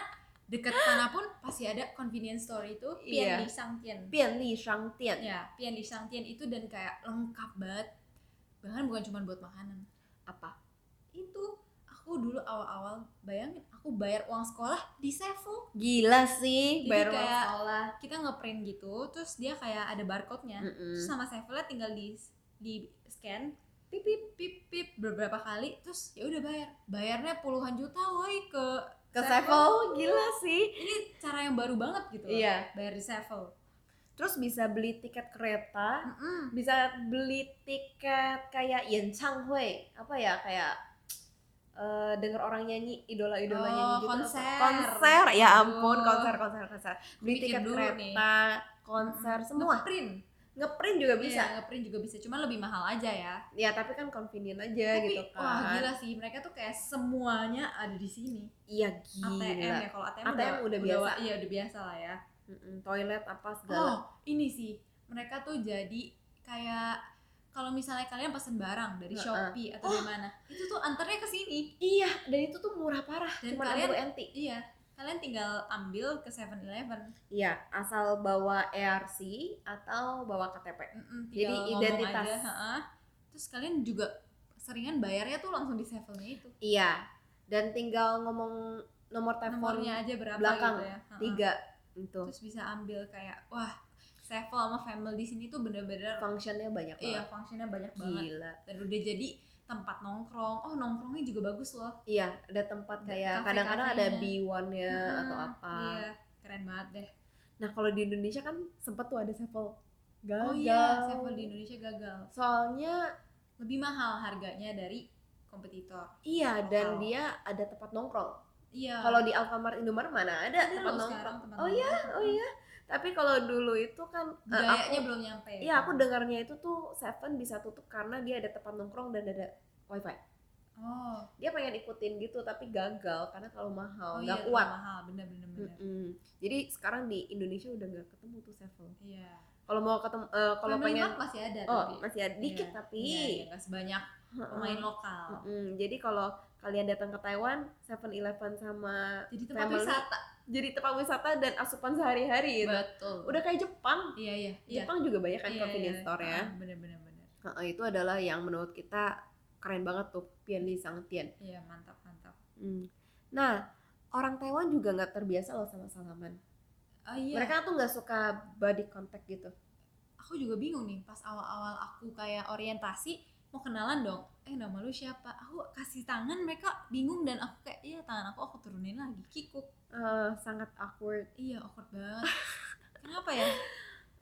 A: deket sana pun pasti ada convenience store itu Pian
B: Iya.
A: Li Sang Tian.
B: Pian Li Shang Tian.
A: Ya, Pian Li Sang Tian itu dan kayak lengkap banget. Bahkan bukan cuma buat makanan.
B: Apa?
A: Itu aku dulu awal-awal bayangin aku bayar uang sekolah di Sevo.
B: Gila sih,
A: Jadi
B: bayar uang
A: kayak-
B: sekolah.
A: Kita ngeprint gitu, terus dia kayak ada barcode-nya.
B: Mm-mm.
A: terus sama Sevelnya tinggal di di scan pip pip pip pip beberapa kali terus ya udah bayar bayarnya puluhan juta woi ke
B: Ke
A: Sevel.
B: Sevel gila sih.
A: ini cara yang baru banget gitu loh,
B: Iya.
A: bayar di Sevel
B: Terus bisa beli tiket kereta,
A: Mm-mm.
B: bisa beli tiket kayak Yancanghui, apa ya kayak eh denger orang nyanyi idola-idola
A: Oh,
B: nyanyi gitu apa.
A: konser.
B: konser ya ampun
A: Aduh.
B: konser konser konser beli
A: Mikir
B: tiket
A: dulu
B: kereta
A: nih.
B: konser
A: Mm-mm.
B: semua
A: ngeprint
B: ngeprint juga bisa
A: bisa ngeprint juga bisa cuma lebih mahal aja ya
B: ya tapi kan convenient aja
A: tapi
B: gitu kan
A: wah gila sih mereka tuh kayak semuanya ada di sini
B: iya
A: ATM
B: gila
A: ya kalau ATM,
B: ATM udah biasa.
A: iya udah biasa lah ya
B: Mm-mm, toilet apa segala
A: Oh, ini sih. Mereka tuh jadi kayak kalau misalnya kalian pesen barang dari
B: Heeh. Oh.
A: Shopee atau dari mana, itu tuh antarnya ke sini.
B: iya dan itu tuh murah parah
A: Dan
B: Ah, cuma e-
A: kalian-
B: kalian... enti
A: Iya, kalian tinggal ambil ke 7-Eleven.
B: iya asal bawa ERC atau bawa KTP
A: Mm-mm,
B: Jadi
A: tinggal ngomong
B: identitas.
A: aja, heeh. Terus kalian juga seringan bayarnya tuh langsung di 7-nya itu.
B: iya dan tinggal ngomong nomor telepon
A: Nomornya aja berapa
B: belakang,
A: gitu ya. heeh.
B: tiga gitu. itu
A: Terus bisa ambil kayak wah, Sevel sama Family di sini tuh bener-bener
B: functionnya banyak
A: iya,
B: banget
A: fungsinya banyak banget.
B: gila
A: Dan udah jadi tempat nongkrong. Oh, nongkrongnya juga bagus loh.
B: iya ada tempat
A: Ada
B: kayak
A: kafe-kafenya.
B: kadang-kadang ada B1 nya
A: Mm-mm,
B: atau apa
A: Iya, keren banget deh.
B: nah kalau di Indonesia kan sempet tuh ada sevel gagal
A: Oh iya, Sevel di Indonesia gagal.
B: soalnya
A: Lebih mahal harganya dari kompetitor.
B: iya dan
A: Lokal.
B: dia ada tempat nongkrong
A: Iya.
B: kalau di Alfamart Indomaret mana ada,
A: Ada loh
B: tempat nongkrong
A: sekarang tempat
B: oh iya
A: nongkrong.
B: oh iya tapi kalau dulu itu kan eh,
A: Budayanya
B: aku
A: belum nyampe.
B: iya aku dengarnya itu tuh Seven bisa tutup karena dia ada tempat nongkrong dan ada wifi
A: Oh,
B: dia pengen ikutin gitu tapi gagal karena terlalu mahal
A: oh iya,
B: nggak
A: terlalu
B: kuat Hmm.
A: mahal, bener bener bener.
B: Mm-mm. Jadi sekarang di Indonesia udah nggak ketemu tuh Sevel.
A: Iya.
B: Kalau mau ketemu, eh, kalau
A: Family
B: pengen,
A: Mart masih ada
B: oh
A: tapi.
B: masih ada dikit
A: Iya,
B: tapi.
A: Iya, iya, nggak sebanyak
B: Heeh.
A: pemain lokal.
B: Mm-mm. Jadi kalau kalian datang ke Taiwan, Seven Eleven sama
A: Jadi tempat
B: Family.
A: wisata.
B: jadi tempat wisata dan asupan sehari-hari gitu.
A: Betul.
B: Udah kayak Jepang.
A: Iya iya iya.
B: Jepang juga banyak kan
A: Iya,
B: convenience
A: iya.
B: store ya.
A: Ah, Bener bener bener.
B: Heeh, itu adalah yang menurut kita keren banget tuh Pian Li Sang Tian.
A: Iya mantap mantap.
B: Mm. Nah, orang Taiwan juga nggak terbiasa loh sama salaman.
A: Oh iya.
B: Mereka tuh nggak suka body contact gitu.
A: aku juga bingung nih pas awal-awal aku kayak orientasi mau kenalan dong eh nama lu siapa aku kasih tangan mereka bingung dan aku kayak iya tangan aku aku turunin lagi kikuk
B: Eh, sangat awkward.
A: iya awkward banget kenapa ya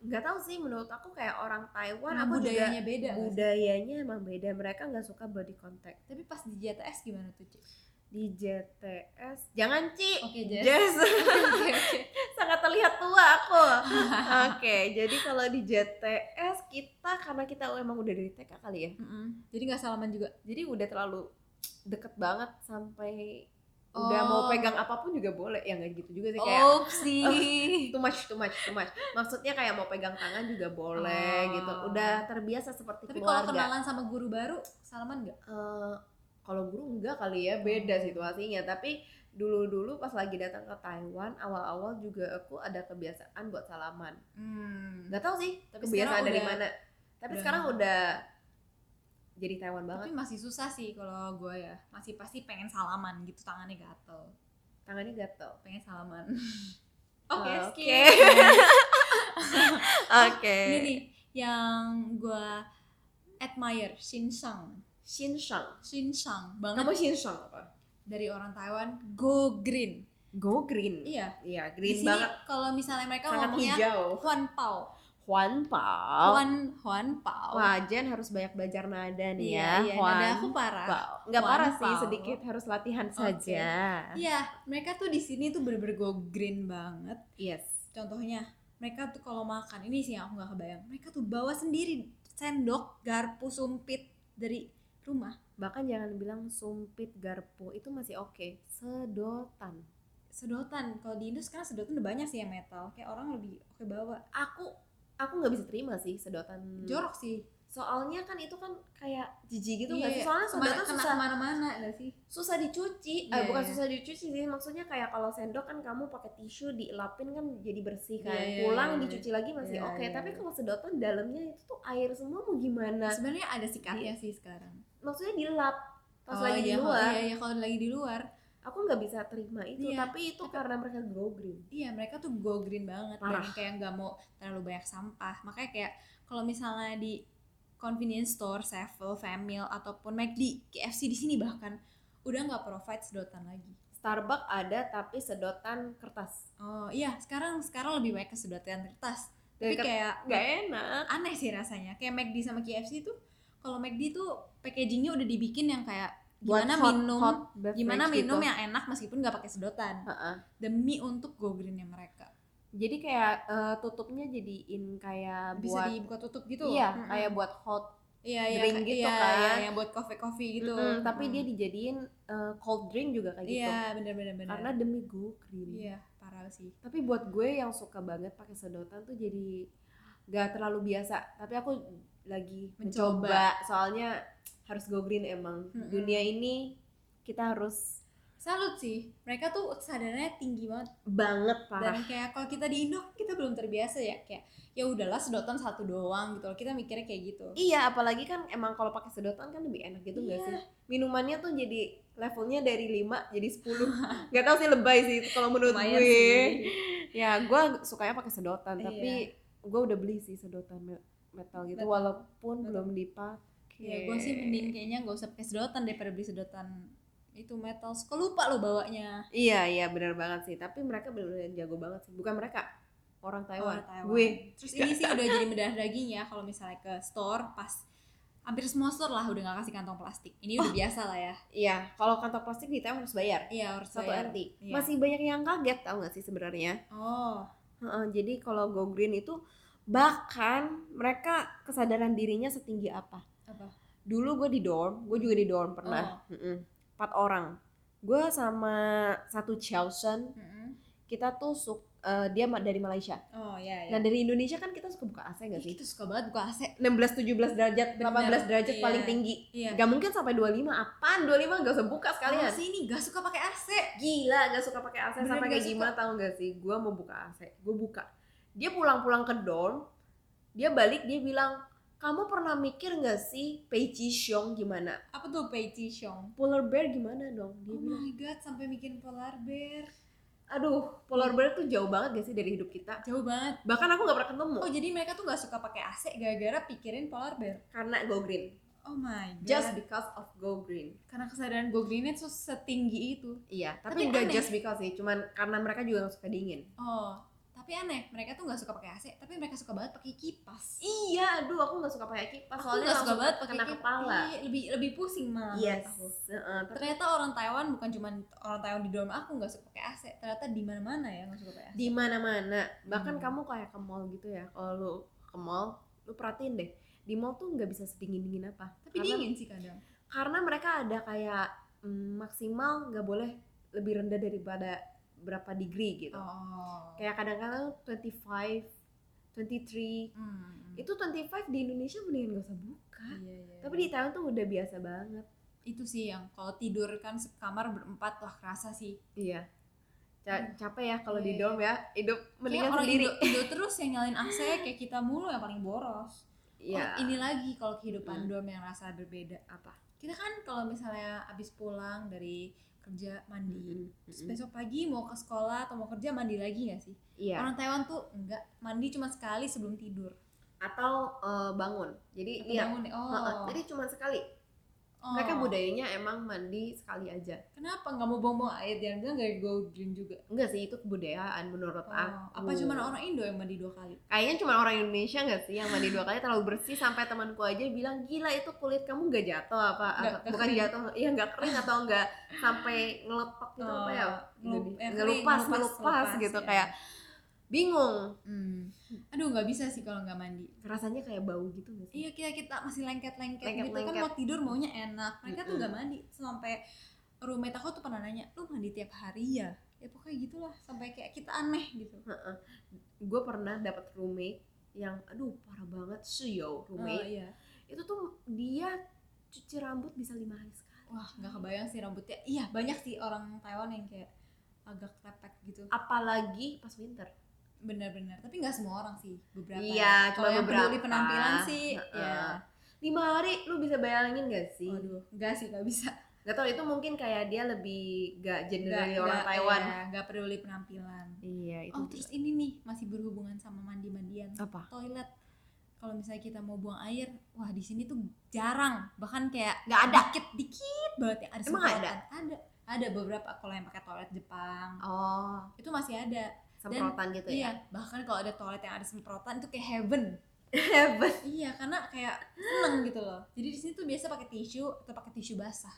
B: nggak tahu sih menurut aku kayak orang Taiwan
A: Karena
B: aku
A: budayanya
B: juga
A: beda kan? nggak sih?
B: budayanya emang beda mereka nggak suka body contact
A: tapi pas di JTS gimana tuh Ci?
B: di JTS jangan Ci Oh,
A: oke Jess
B: Jess
A: Oke, oke.
B: sangat nggak terlihat tua aku. Oke, jadi kalau di JTS kita karena kita emang udah dari TK kali ya.
A: Mm-mm. Jadi nggak salaman juga.
B: Jadi udah terlalu deket banget sampai udah
A: Oh.
B: mau pegang apapun juga boleh. Ya nggak gitu juga sih kayak
A: Opsi.
B: too much too much too much. Maksudnya kayak mau pegang tangan juga
A: Oh.
B: boleh gitu. Udah terbiasa seperti
A: Tapi kalau
B: keluarga.
A: kenalan sama guru baru, salaman nggak?
B: Eh, kalau guru enggak kali
A: Hmm.
B: ya beda situasinya tapi dulu-dulu pas lagi datang ke Taiwan awal-awal juga aku ada kebiasaan buat salaman
A: Hmm.
B: nggak tahu sih
A: Tapi
B: kebiasaan
A: sekarang
B: dari
A: udah-
B: mana tapi
A: udah-
B: sekarang udah jadi Taiwan banget
A: Tapi masih susah sih kalau gue ya. Masih pasti pengen salaman gitu, tangannya gatel.
B: tangannya gatel
A: Pengen salaman. Ah, Oke, skip.
B: Oke. oke
A: Ini nih yang gue admire, Shinsang.
B: Shinsang
A: Shinsang banget
B: kamu Shinsang apa
A: dari orang Taiwan, go green.
B: go green
A: Iya.
B: iya
A: Di
B: kan green
A: sini
B: banget
A: kalau misalnya mereka
B: sangat
A: ngomongnya
B: hijau Oh.
A: Huan Pao.
B: Huan Pao
A: Huan Huan Pao.
B: Wah, Jen harus banyak belajar nada nih
A: iya,
B: ya.
A: iya.
B: Huan
A: Nada aku parah.
B: Wow. Nggak
A: Wow,
B: parah
A: wow.
B: sih, sedikit harus latihan
A: Oke.
B: saja.
A: Iya, mereka tuh di sini tuh bener-bener go green banget.
B: Yes.
A: Contohnya, mereka tuh kalau makan ini sih yang aku nggak kebayang. Mereka tuh bawa sendiri sendok, garpu, sumpit dari rumah.
B: Bahkan jangan bilang sumpit garpu itu masih oke. Sedotan.
A: Sedotan, kalau di Indo sekarang sedotan udah banyak sih yang metal. Kayak orang lebih oke bawa.
B: Aku aku nggak bisa terima sih sedotan.
A: Jorok sih.
B: Soalnya kan itu kan kayak jijik gitu nggak
A: Iya,
B: sih? Soalnya
A: kemana-
B: sedotan
A: kena
B: susah
A: kemana-mana nggak sih?
B: susah dicuci. Eh,
A: Iya,
B: bukan
A: iya.
B: susah dicuci sih, maksudnya kayak kalau sendok kan kamu pakai tisu dielapin kan jadi bersih kan.
A: Iya, iya,
B: Pulang
A: iya.
B: dicuci lagi masih
A: Iya,
B: oke,
A: iya,
B: tapi
A: iya.
B: kalau sedotan dalamnya itu tuh air semua mau gimana?
A: Sebenarnya ada sikatnya sih sekarang.
B: Maksudnya dilap Iya. pas
A: Oh,
B: lagi
A: iya,
B: di
A: kalau-
B: luar.
A: Iya, iya, kalau lagi di luar.
B: aku nggak bisa terima itu
A: Iya.
B: tapi itu karena mereka grow green
A: Iya mereka tuh go green banget
B: Parah.
A: dan kayak nggak mau terlalu banyak sampah makanya kayak kalau misalnya di convenience store, Sevel, Famil ataupun McD, KFC di sini bahkan udah nggak provide sedotan lagi.
B: Starbucks ada tapi sedotan kertas
A: Oh iya sekarang sekarang lebih banyak ke sedotan kertas. Tapi
B: Dari kertas
A: kayak
B: nggak ya? enak
A: aneh sih rasanya. Kayak McD sama KFC tuh kalau McD tuh packagingnya udah dibikin yang kayak gimana
B: Buat hot-
A: minum
B: hot beverage
A: gimana minum ya?
B: gitu.
A: yang enak meskipun nggak pakai sedotan
B: Heeh.
A: demi untuk go greennya mereka
B: jadi kayak eh, tutupnya jadiin kayak
A: bisa
B: buat
A: dibuka tutup gitu
B: iya
A: Mm-mm.
B: kayak buat hot
A: Iya, iya,
B: drink
A: kayak-
B: gitu
A: iya,
B: kan.
A: iya, yang buat coffee-coffee gitu.
B: Mm-mm, tapi
A: Mm.
B: dia dijadiin eh, cold drink juga kayak
A: Iya,
B: gitu
A: benar benar benar.
B: karena demi go green
A: iya, parah sih.
B: tapi buat gue yang suka banget pakai sedotan tuh jadi nggak terlalu biasa tapi aku lagi mencoba,
A: Mencoba.
B: soalnya harus go green emang
A: Mm-mm.
B: dunia ini kita harus
A: Salut sih. Mereka tuh sadarnya tinggi banget
B: banget
A: dan
B: parah
A: kayak kalau kita di Indo kita belum terbiasa ya kayak ya udahlah sedotan satu doang gitu loh. Kita mikirnya kayak gitu.
B: iya apalagi kan emang kalau pakai sedotan kan lebih enak gitu nggak
A: Iya.
B: sih minumannya tuh jadi levelnya dari 5 jadi 10 nggak tahu sih lebay sih itu kalau menurut
A: Lumayan
B: gue
A: sih.
B: ya gue sukanya pakai sedotan
A: Iya.
B: tapi gue udah beli sih sedotan me- metal gitu
A: Metal.
B: walaupun
A: Metal.
B: belum dipakai
A: Ya, gue sih mending kayaknya gak usah pakai sedotan daripada beli sedotan itu metal. Kok lupa lo bawanya?
B: Iya iya benar banget sih. Tapi mereka benar-benar jago banget sih. Bukan mereka orang Taiwan.
A: Orang Taiwan.
B: Gue
A: Terus ini sih udah jadi mendarah daging ya kalau misalnya ke store pas hampir semua store lah udah gak kasih kantong plastik. Ini
B: Oh.
A: udah biasa lah ya.
B: iya kalau kantong plastik di Taiwan harus bayar
A: Iya harus
B: satu
A: bayar.
B: NT.
A: Iya.
B: Masih banyak yang kaget tau gak sih sebenarnya.
A: Oh,
B: Heeh, jadi kalau go green itu bahkan mereka kesadaran dirinya setinggi apa.
A: apa? Oh.
B: Dulu gue di dorm, gue juga di dorm pernah. Mm-mm. Empat orang. Gue sama satu Chelsea,
A: Mm-mm.
B: kita tuh suk- eh, dia ma- dari Malaysia.
A: Oh ya ya.
B: Nah dari Indonesia kan kita suka buka AC gak
A: Ih,
B: sih?
A: kita suka banget buka AC.
B: 16-17 derajat,
A: Bener,
B: 18 derajat
A: iya.
B: paling tinggi.
A: Iya.
B: Gak mungkin sampai 25. Apaan 25 gak usah buka sekalian.
A: Orang sini gak suka pakai AC.
B: Gila gak suka pakai AC
A: Bener,
B: sampai
A: gak
B: kayak
A: suka.
B: gimana tau gak sih? Gue mau buka AC, gue buka. Dia pulang-pulang ke dorm, dia balik dia bilang, kamu pernah mikir gak sih Pei Chi Xiong gimana?
A: Apa tuh Pei Chi Xiong?
B: Polar bear gimana dong? Dia
A: Oh
B: bilang,
A: my god, sampai bikin polar bear.
B: Oh. aduh polar bear tuh jauh banget gak sih dari hidup kita?
A: Jauh banget.
B: Bahkan aku gak pernah ketemu
A: Oh, jadi mereka tuh gak suka pakai AC gara-gara pikirin polar bear.
B: karena go green.
A: Oh my god.
B: Just because of go green.
A: karena kesadaran gue greennya tuh setinggi itu.
B: Iya, tapi,
A: Tapi
B: nggak
A: aneh.
B: just because sih, cuman karena mereka juga nggak suka dingin.
A: Oh, tapi tapi aneh mereka tuh nggak suka pakai AC tapi mereka suka banget pakai kipas
B: Iya, aduh aku nggak suka pakai kipas
A: aku
B: soalnya
A: nggak suka
B: langsung
A: banget pakai
B: kena
A: kipas
B: kepala. Iya.
A: Iya, lebih lebih pusing malah
B: Yes.
A: menurut aku
B: Heeh, tapi
A: ternyata orang Taiwan bukan cuman orang Taiwan di dorm aku nggak suka pakai AC ternyata di mana mana ya nggak suka pakai AC
B: di mana-mana. Bahkan
A: Hmm.
B: kamu kayak ke mall gitu ya. Kalau lu ke mall, lu perhatiin deh. Di mall tuh nggak bisa sedingin-dingin apa.
A: tapi
B: Karena-
A: dingin sih kadang
B: Karena mereka ada kayak mm, maksimal nggak boleh lebih rendah daripada berapa degree gitu.
A: oh
B: Kayak kadang-kadang 25, 23.
A: Hmm.
B: Itu 25 di Indonesia mendingan gak usah buka.
A: Iya, iya,
B: Tapi
A: iya.
B: di Thailand tuh udah biasa banget.
A: itu sih yang kalau tidur kan sekamar berempat lah kerasa sih
B: Iya. Ca- capek ya kalau di
A: Iya,
B: dorm ya. Hidup
A: Kayak
B: mendingan
A: orang
B: sendiri.
A: Indo, Indo terus yang nyalain AC kayak kita mulu yang paling boros.
B: Iya.
A: Oh, ini lagi kalau kehidupan
B: Hmm.
A: dorm yang rasa berbeda.
B: apa?
A: Kita kan kalau misalnya abis pulang dari kerja
B: Iya. Hmm.
A: mandi, terus
B: Mm-mm.
A: besok pagi mau ke sekolah atau mau kerja mandi lagi gak sih?
B: Iya.
A: Orang Taiwan tuh enggak mandi cuma sekali sebelum tidur.
B: Atau eh, bangun. Jadi
A: Atau
B: dia
A: bangun, oh,
B: Iya. Heeh, Jadi cuma sekali.
A: oh.
B: Mereka budayanya emang mandi sekali aja.
A: Kenapa nggak mau bongbong air? Jangan bilang gak go green juga.
B: Enggak sih itu kebudayaan menurut
A: Oh,
B: aku.
A: Apa cuma orang Indo yang mandi dua kali?
B: Kayaknya cuma orang Indonesia enggak sih yang mandi dua kali terlalu bersih sampai temanku aja bilang gila itu kulit kamu enggak jatuh apa,
A: Nggak-
B: apa-
A: nggak
B: bukan
A: kering."
B: jatuh iya enggak kering atau enggak sampai ngelepak gitu apa ya?
A: Ngelup- eh,
B: Ngelupas,
A: kering,
B: ngelupas gitu
A: ya.
B: kayak bingung.
A: Hmm. Aduh nggak bisa sih kalau nggak mandi.
B: Rasanya kayak bau gitu enggak sih?
A: Iya kita kita masih lengket-lengket gitu kan
B: Lengket-lengket.
A: mau tidur maunya enak. Mereka tuh
B: Mm-mm.
A: nggak mandi sampai roommate aku tuh pernah nanya, lu mandi tiap hari ya? Ya pokoknya gitulah sampai kayak kita aneh gitu.
B: Gue pernah dapat roommate yang aduh parah banget suyo
A: Oh,
B: roommate.
A: iya.
B: itu tuh dia cuci rambut bisa lima hari sekali
A: Wah nggak kebayang sih rambutnya. Iya banyak sih orang Taiwan yang kayak agak lepek gitu.
B: apalagi pas winter
A: Bener-bener. Tapi nggak semua orang sih beberapa.
B: Iya,
A: ya.
B: cuma
A: Kalau yang peduli
B: beberapa.
A: penampilan sih.
B: Heeh.
A: Ya.
B: lima hari lu bisa bayangin gak sih
A: Waduh, nggak sih nggak bisa.
B: gak tau itu mungkin kayak dia lebih gak
A: Nggak-
B: general orang
A: nggak-
B: Taiwan
A: iya, Nggak peduli penampilan.
B: iya itu
A: Oh terus ini nih masih berhubungan sama mandi-mandian.
B: apa
A: toilet kalau misalnya kita mau buang air wah di sini tuh jarang bahkan kayak
B: nggak ada
A: dikit dikit banget yang ada
B: Emang
A: semprotan.
B: ada?
A: ada ada beberapa kalau yang pakai toilet Jepang
B: oh
A: itu masih ada
B: semprotan gitu ya
A: iya bahkan kalau ada toilet yang ada semprotan itu kayak heaven
B: hebat
A: iya karena kayak seneng gitu loh jadi di sini tuh biasa pakai tisu atau pakai tisu basah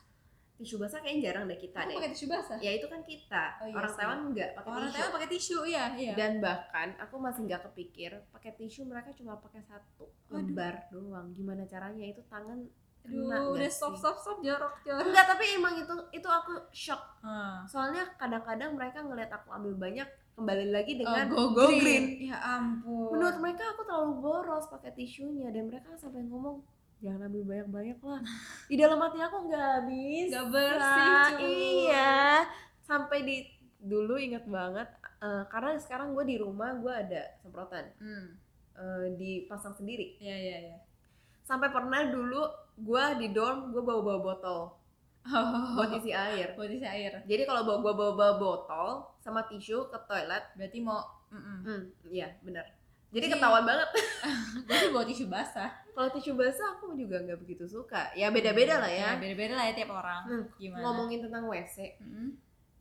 B: tisu basah kayaknya jarang deh kita
A: Kamu
B: deh
A: pakai tisu basah
B: ya itu kan kita
A: Oh, iya
B: orang
A: sih.
B: Taiwan nggak pakai
A: orang
B: tisu
A: Taiwan pakai tisu iya iya
B: dan bahkan aku masih nggak kepikir pakai tisu mereka cuma pakai satu
A: Waduh.
B: lembar doang gimana caranya itu tangan kena
A: Aduh, udah
B: nggak
A: stop
B: sih?
A: stop stop jorok jorok
B: enggak tapi emang itu itu aku shock
A: Ah.
B: soalnya kadang-kadang mereka ngelihat aku ambil banyak kembali lagi dengan
A: Oh,
B: go, green.
A: ya ampun
B: menurut mereka aku terlalu boros pakai tisunya dan mereka sampai ngomong jangan ambil banyak-banyak lah di dalam hati aku nggak habis Nah,
A: Nggak bersih, cuy.
B: iya sampai di dulu ingat banget eh, karena sekarang gue di rumah gue ada semprotan
A: hmm.
B: eh, dipasang sendiri
A: iya iya iya
B: sampai pernah dulu gue di dorm gue bawa-bawa botol
A: Oh,
B: buat isi air
A: buat isi air.
B: jadi kalau bawa gue bawa-bawa botol sama tisu ke toilet
A: Berarti mau mm
B: hmm iya benar jadi
A: Iya.
B: ketahuan banget Hmm.
A: Berarti buat tisu basah.
B: kalau tisu basah aku juga nggak begitu suka ya beda-beda lah ya
A: Beda-beda lah ya tiap orang.
B: Hmm,
A: Gimana? Hmm,
B: ngomongin tentang WC
A: Mm-mm.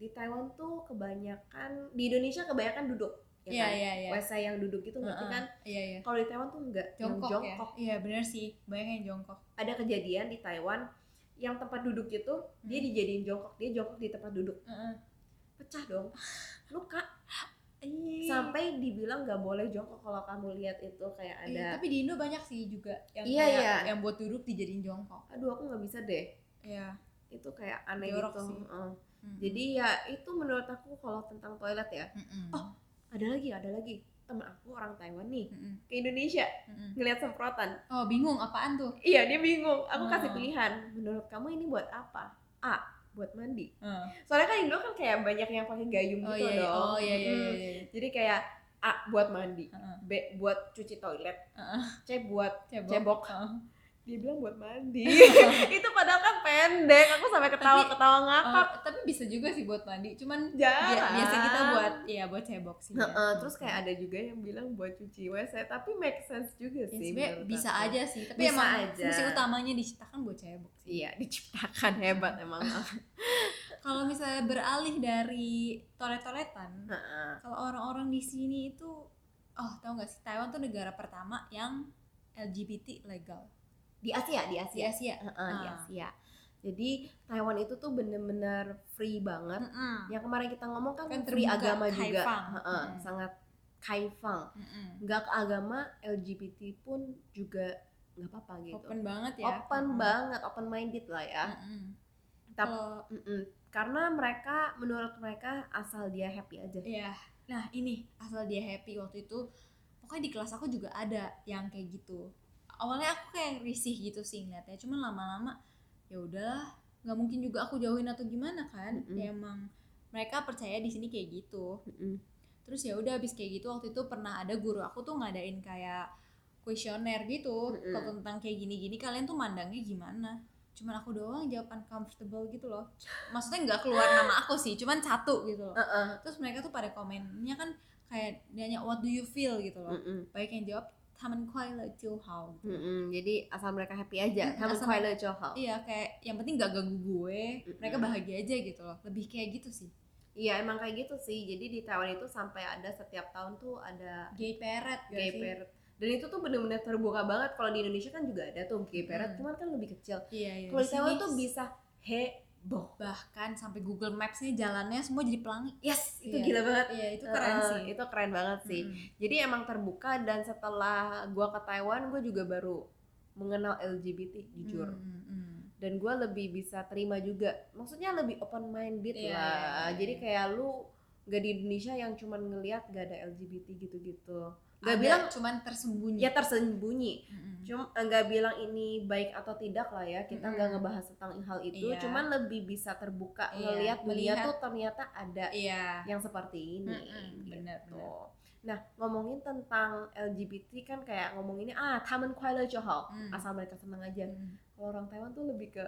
B: di Taiwan tuh kebanyakan di Indonesia kebanyakan duduk ya
A: Iya,
B: kan?
A: iya, iya.
B: WC yang duduk itu ngerti
A: Heeh.
B: kan
A: Iya, iya.
B: kalau di Taiwan tuh enggak
A: Jongkok,
B: yang jongkok
A: ya. Iya, bener sih. Banyak yang jongkok.
B: ada kejadian di Taiwan yang tempat duduk itu dia
A: Hmm.
B: dijadiin jongkok dia jongkok di tempat duduk
A: Heeh.
B: pecah dong luka
A: Iya.
B: sampai dibilang nggak boleh jongkok kalau kamu lihat itu kayak
A: Iya,
B: ada
A: tapi di Indo banyak sih juga yang
B: Iya,
A: kayak
B: iya.
A: yang buat duduk dijadiin jongkok.
B: aduh aku nggak bisa deh
A: Iya.
B: itu kayak aneh
A: Jorok
B: gitu
A: sih.
B: Heeh.
A: Mm-mm.
B: jadi ya itu menurut aku kalau tentang toilet ya
A: Mm-mm.
B: Oh. ada lagi ada lagi temen aku orang Taiwan nih
A: Mm-mm.
B: ke Indonesia
A: Mm-mm.
B: ngelihat semprotan
A: Oh, bingung apaan tuh?
B: iya dia bingung aku
A: Hmm.
B: kasih pilihan menurut kamu ini buat apa A buat mandi
A: Heeh.
B: soalnya kan Indo kan kayak banyak yang pakai gayung
A: Oh,
B: gitu
A: iya, iya.
B: dong
A: Oh, iya, iya,
B: Mm.
A: iya, iya.
B: jadi kayak A buat mandi
A: Heeh.
B: B buat cuci toilet
A: Heeh.
B: C buat
A: Cebok.
B: Cebok.
A: Heeh.
B: dia bilang buat mandi itu padahal kan pendek aku sampai ketawa ketawa ngakak
A: Oh, tapi bisa juga sih buat mandi. Cuman
B: jarang
A: Bia- biasa kita buat ya buat cebok sih ya.
B: Heeh, terus kayak ada juga yang bilang buat cuci WC tapi make sense
A: Ya,
B: juga sih
A: sebenarnya
B: menurut
A: bisa
B: aku.
A: aja sih tapi
B: Bisa
A: emang
B: aja.
A: fungsi utamanya diciptakan buat cebok sih
B: iya diciptakan hebat emang
A: kalau misalnya beralih dari toilet-toiletan
B: Heeh.
A: kalau orang-orang di sini itu oh tau gak sih Taiwan tuh negara pertama yang LGBT legal
B: di Asia
A: di
B: di Asia
A: Asia
B: Iya, Heeh, di
A: Ah.
B: Asia jadi Taiwan itu tuh bener-bener free banget
A: Mm-mm.
B: yang kemarin kita ngomong kan,
A: Kan
B: free
A: terbuka,
B: agama juga
A: kaifang.
B: Heeh,
A: Hmm.
B: sangat kaifang
A: Mm-mm.
B: nggak ke agama LGBT pun juga nggak apa-apa gitu
A: open banget ya
B: Open banget open minded lah ya
A: Mm-mm.
B: Tapi-
A: Kalau
B: Mm-mm. karena mereka menurut mereka asal dia happy aja
A: Iya. Nah, ini asal dia happy waktu itu. Pokoknya di kelas aku juga ada yang kayak gitu. Awalnya aku kayak risih gitu sih ngeliatnya, cuman lama-lama ya udahlah, nggak mungkin juga aku jauhin atau gimana kan.
B: Mm-mm.
A: Ya emang mereka percaya di sini kayak gitu.
B: Mm-mm.
A: Terus ya udah habis kayak gitu waktu itu pernah ada guru aku tuh ngadain kayak kuesioner gitu
B: Mm-mm.
A: kalau tentang kayak gini-gini kalian tuh mandangnya gimana? Cuman aku doang jawab uncomfortable gitu loh. Maksudnya nggak keluar nama aku sih, cuman satu gitu loh
B: Heeh.
A: terus mereka tuh pada komennya kan kayak dia nanya what do you feel gitu loh
B: Mm-mm.
A: baik yang jawab taman kuai le jiu hao gitu.
B: Mm-mm. jadi asal mereka happy aja
A: Mm,
B: kamu
A: asal-
B: Kuai Lo Johor.
A: iya kayak yang penting gak ganggu gue mereka
B: Mm-mm.
A: bahagia aja gitu loh lebih kayak gitu sih
B: Iya emang kayak gitu sih. Jadi di Taiwan itu sampai ada setiap tahun tuh ada
A: gay parrot gak
B: gay
A: Iya sih?
B: parade. Dan itu tuh bener-bener terbuka banget. Kalau di Indonesia kan juga ada tuh gay parade,
A: Hmm.
B: cuman kan lebih kecil.
A: iya iya
B: Kalau di
A: Di
B: Taiwan
A: sini
B: tuh bisa heboh.
A: bahkan sampai Google Maps nih jalannya semua jadi pelangi
B: Yes, itu
A: Iya.
B: gila banget.
A: iya itu keren
B: Eh,
A: sih Hmm,
B: Itu keren banget sih.
A: Mm-mm.
B: Jadi emang terbuka dan setelah gua ke Taiwan, gua juga baru mengenal LGBT jujur.
A: Mm, mm, mm.
B: dan gue lebih bisa terima juga maksudnya lebih open minded
A: Iya,
B: lah
A: iya, iya,
B: jadi
A: iya.
B: kayak lu nggak di Indonesia yang cuman ngelihat gak ada LGBT gitu-gitu nggak
A: Ada,
B: bilang
A: cuman tersembunyi Hmm,
B: ya tersembunyi
A: Mm-mm.
B: cuma eh, nggak bilang ini baik atau tidak lah ya kita
A: Mm-mm.
B: nggak ngebahas tentang hal itu
A: Iya.
B: cuman lebih bisa terbuka
A: Iya,
B: ngelihat dunia
A: melihat.
B: tuh ternyata ada
A: iya
B: yang seperti ini
A: Mm-mm, benar,
B: gitu. Nah, ngomongin tentang LGBT kan kayak ngomonginnya ah taman kuala johal
A: Mm.
B: asal mereka senang aja
A: Mm.
B: kalau orang Taiwan tuh lebih ke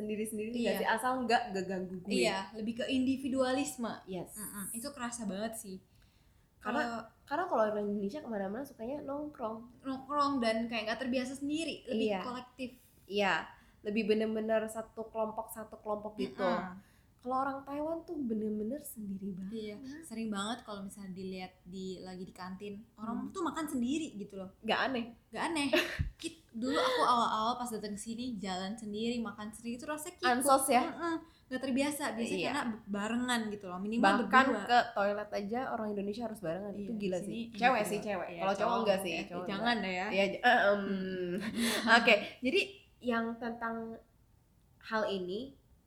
B: sendiri-sendiri
A: Iya.
B: nggak sih asal nggak nggak ganggu gue
A: iya lebih ke individualisme
B: yes
A: Mm-mm. itu kerasa banget sih
B: Hmm, Karena-
A: kalau
B: karena kalau orang Indonesia kemana-mana sukanya nongkrong
A: nongkrong dan kayak nggak terbiasa sendiri lebih
B: Iya.
A: kolektif
B: iya lebih bener-bener satu kelompok satu kelompok gitu
A: Mm-mm.
B: kalau orang Taiwan tuh bener-bener sendiri banget
A: iya sering banget kalau misalnya dilihat di lagi di kantin orang
B: Hmm.
A: tuh makan sendiri gitu loh
B: nggak aneh
A: nggak aneh Kit- dulu aku awal-awal pas datang ke sini jalan sendiri makan sendiri itu rasanya kikuk
B: ansos ya
A: Mm-mm. nggak terbiasa biasanya
B: Iya.
A: karena barengan gitu loh minimal
B: bahkan
A: berdua
B: ke toilet aja orang Indonesia harus barengan itu
A: Iya,
B: gila
A: di
B: sih
A: sini
B: cewek
A: gitu
B: sih
A: loh.
B: cewek
A: Iya,
B: kalau cowok enggak sih
A: ya.
B: cowok
A: jangan deh ya
B: enggak. Iya, j- eh, em.
A: Hmm.
B: oke jadi yang tentang hal ini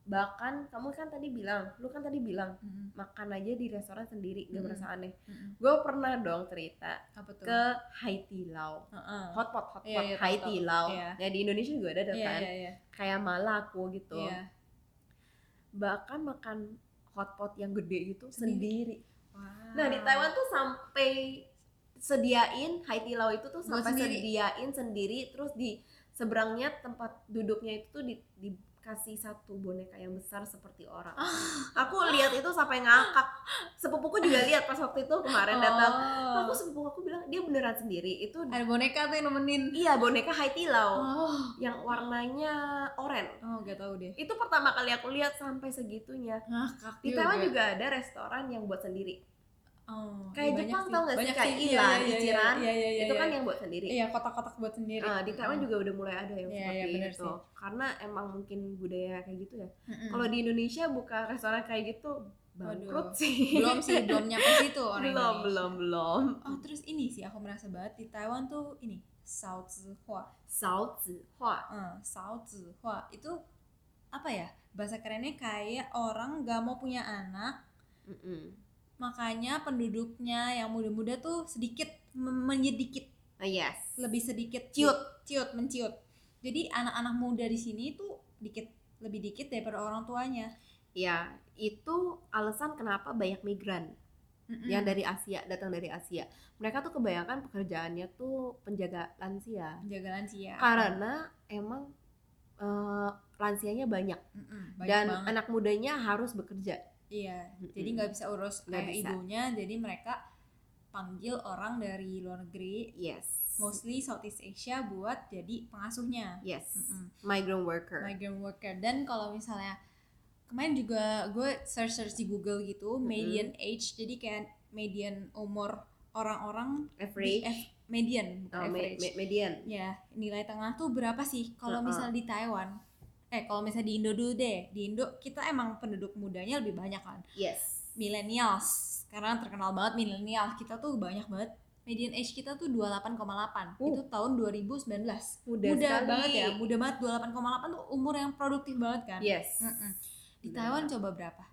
B: bahkan kamu kan tadi bilang lu kan tadi bilang
A: Mm-mm.
B: makan aja di restoran sendiri gak
A: Mm-mm.
B: merasa aneh
A: Mm-mm.
B: gue pernah dong cerita
A: apa Hmm. tuh
B: ke Haiti Lau
A: Heeh.
B: hotpot hotpot
A: Iya, iya,
B: Haiti Lau
A: Iya.
B: ya di Indonesia juga ada tuh
A: iya
B: kan
A: iya iya
B: kayak malaku gitu
A: Iya.
B: bahkan makan hotpot yang gede gitu
A: Sendiri.
B: sendiri, nah di
A: Wow.
B: Taiwan tuh sampai sediain Haiti Lau itu tuh
A: Buat
B: sampai
A: sendiri.
B: sediain sendiri terus di seberangnya tempat duduknya itu tuh di, dikasih satu boneka yang besar seperti orang.
A: Ah.
B: Aku lihat itu sampai ngakak. Sepupuku juga lihat pas waktu itu kemarin datang.
A: Oh.
B: aku sepupu aku bilang dia beneran sendiri itu
A: ada boneka tuh yang nemenin
B: iya boneka Haitilau
A: oh
B: yang warnanya oranye
A: oh gak tau deh
B: itu pertama kali aku lihat sampai segitunya
A: ngakak
B: di Taiwan juga ada restoran yang buat sendiri
A: oh,
B: Kayak
A: iya, banyak
B: Jepang tau
A: sih.
B: nggak sih?
A: Banyak
B: Kayak
A: sih.
B: Ila,
A: Iya, iya,
B: Ichiran,
A: iya, iya, iya,
B: itu kan
A: iya.
B: yang buat sendiri
A: iya kotak-kotak buat sendiri
B: Ah, di Taiwan juga udah mulai ada yang
A: Iya,
B: seperti
A: iya, bener
B: itu
A: sih.
B: karena emang mungkin budaya kayak gitu ya
A: Mm-mm.
B: kalau di Indonesia buka restoran kayak gitu
A: Waduh.
B: bangkrut sih
A: belum sih belum nyampe situ orang
B: belum
A: Indonesia.
B: belum belum
A: oh terus ini sih aku merasa banget di Taiwan tuh ini Sao Zihua
B: Sao Zihua
A: Eh, Sao Zihua itu apa ya bahasa kerennya kayak orang gak mau punya anak
B: Mm-mm.
A: makanya penduduknya yang muda-muda tuh sedikit mem- menyedikit
B: Ah, yes
A: lebih sedikit
B: Ciut.
A: ciut menciut jadi anak-anak muda di sini tuh dikit lebih dikit daripada orang tuanya
B: ya itu alasan kenapa banyak migran
A: Mm-mm.
B: yang dari Asia datang dari Asia mereka tuh kebanyakan pekerjaannya tuh penjaga lansia
A: jaga lansia
B: karena emang eh, lansianya banyak
A: Mm-mm, banyak
B: dan
A: banget.
B: anak mudanya harus bekerja
A: iya
B: Mm-mm.
A: jadi nggak bisa urus
B: Nggak
A: kayak
B: bisa.
A: ibunya jadi mereka panggil orang dari luar negeri
B: yes
A: mostly Southeast Asia buat jadi pengasuhnya
B: yes
A: Mm-mm.
B: migrant worker
A: migrant worker dan kalau misalnya kemarin juga gue search search di Google gitu
B: Mhm.
A: median age jadi kayak median umur orang-orang di-
B: average
A: eh, median bukan
B: Oh, me-
A: average
B: me- median
A: ya nilai tengah tuh berapa sih kalau
B: Heeh.
A: misal di Taiwan eh kalau misal di Indo dulu deh di Indo kita emang penduduk mudanya lebih banyak kan
B: yes
A: millennials sekarang terkenal banget millennials kita tuh banyak banget median age kita tuh 28,8
B: Uh.
A: itu tahun 2019
B: muda,
A: muda
B: sekali
A: banget ya muda banget 28,8 tuh umur yang produktif banget kan
B: yes
A: Mm-mm. di
B: Bener
A: Taiwan coba berapa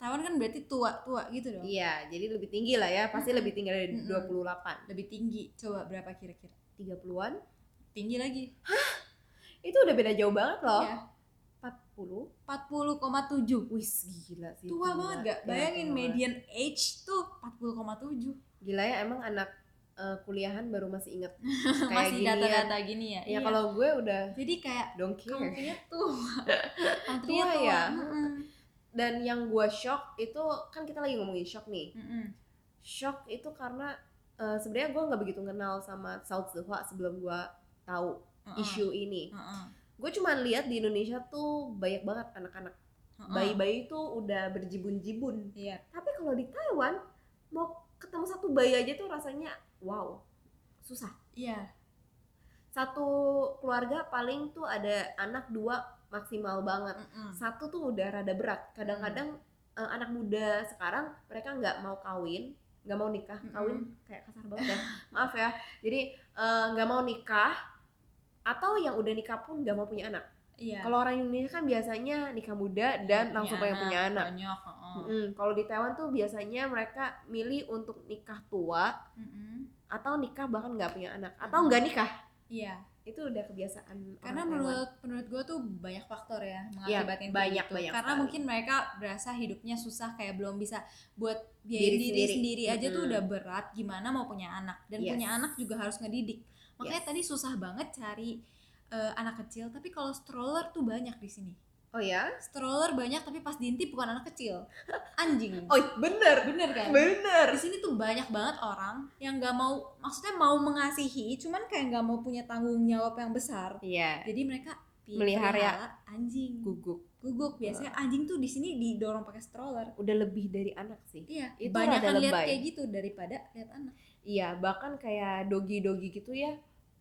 A: Taiwan kan berarti tua-tua gitu dong
B: iya jadi lebih tinggi lah ya pasti lebih tinggi dari
A: Mm-mm.
B: 28
A: lebih tinggi coba berapa kira-kira
B: 30-an
A: tinggi lagi
B: itu udah beda jauh banget loh
A: ya
B: 40
A: 40,7
B: wis gila sih
A: tua
B: gila.
A: banget gak?
B: Iya,
A: Bayangin
B: tua banget.
A: median age tuh 40,7
B: gila ya emang anak eh, kuliahan baru masih inget kayak
A: Masih
B: ginian.
A: data-data gini ya,
B: ya
A: Iya.
B: kalau gue udah
A: Jadi kayak
B: don't care
A: country-nya tua Country-nya
B: Tua
A: tua
B: ya?
A: Mm-mm.
B: dan yang gue shock itu kan kita lagi ngomongin shock nih
A: Mm-mm.
B: shock itu karena eh, sebenarnya gue nggak begitu kenal sama South Zehua sebelum gue tahu
A: Mm-mm. Mm.
B: isu ini
A: Mm-mm.
B: gue cuma lihat di Indonesia tuh banyak banget anak-anak
A: Mm-mm.
B: bayi-bayi itu udah berjibun-jibun
A: Mm. Iya
B: tapi kalau di Taiwan mau ketemu satu bayi aja tuh rasanya wow susah
A: Iya
B: satu keluarga paling tuh ada anak dua maksimal banget
A: Mm-mm.
B: satu tuh udah rada berat kadang-kadang eh, anak muda sekarang mereka nggak mau kawin nggak mau nikah
A: Mm-mm.
B: kawin kayak kasar banget ya maaf ya jadi eh, nggak mau nikah atau yang udah nikah pun nggak mau punya anak
A: Iya
B: kalau orang Indonesia kan biasanya nikah muda
A: Punya
B: dan
A: Oh.
B: langsung pengen punya anak
A: Banyak mm-mm.
B: Mm-mm. kalau di Taiwan tuh biasanya mereka milih untuk nikah tua
A: Mm-mm.
B: atau nikah bahkan nggak punya anak atau
A: Mm-mm.
B: nggak nikah
A: Iya
B: itu udah kebiasaan orang
A: Karena
B: Taiwan.
A: menurut menurut gue tuh banyak faktor ya
B: Iya,
A: mengakibatkan kayak
B: banyak,
A: gitu.
B: banyak
A: Karena
B: sekali.
A: mungkin mereka berasa hidupnya susah kayak belum bisa buat
B: Diri
A: biayain diri,
B: sendiri.
A: sendiri, aja tuh
B: Mm-mm.
A: udah berat. Gimana mau punya anak dan
B: Yes.
A: punya anak juga harus ngedidik. Makanya
B: Yes.
A: tadi susah banget cari eh, anak kecil. Tapi kalau stroller tuh banyak di sini.
B: oh ya
A: Stroller banyak tapi pas diintip bukan anak kecil, anjing.
B: oh bener
A: Bener kan?
B: bener
A: di sini tuh banyak banget orang yang nggak mau maksudnya mau mengasihi cuman kayak nggak mau punya tanggung jawab yang besar
B: Iya.
A: jadi mereka pi-
B: Melihara.
A: pelihara anjing
B: Guguk. Nah.
A: guguk biasanya anjing tuh di sini didorong pakai stroller
B: Udah lebih dari anak sih.
A: iya
B: Itu
A: banyak
B: rada
A: kan lihat
B: lebay.
A: kayak gitu daripada lihat anak
B: Iya, bahkan kayak dogi-dogi gitu ya.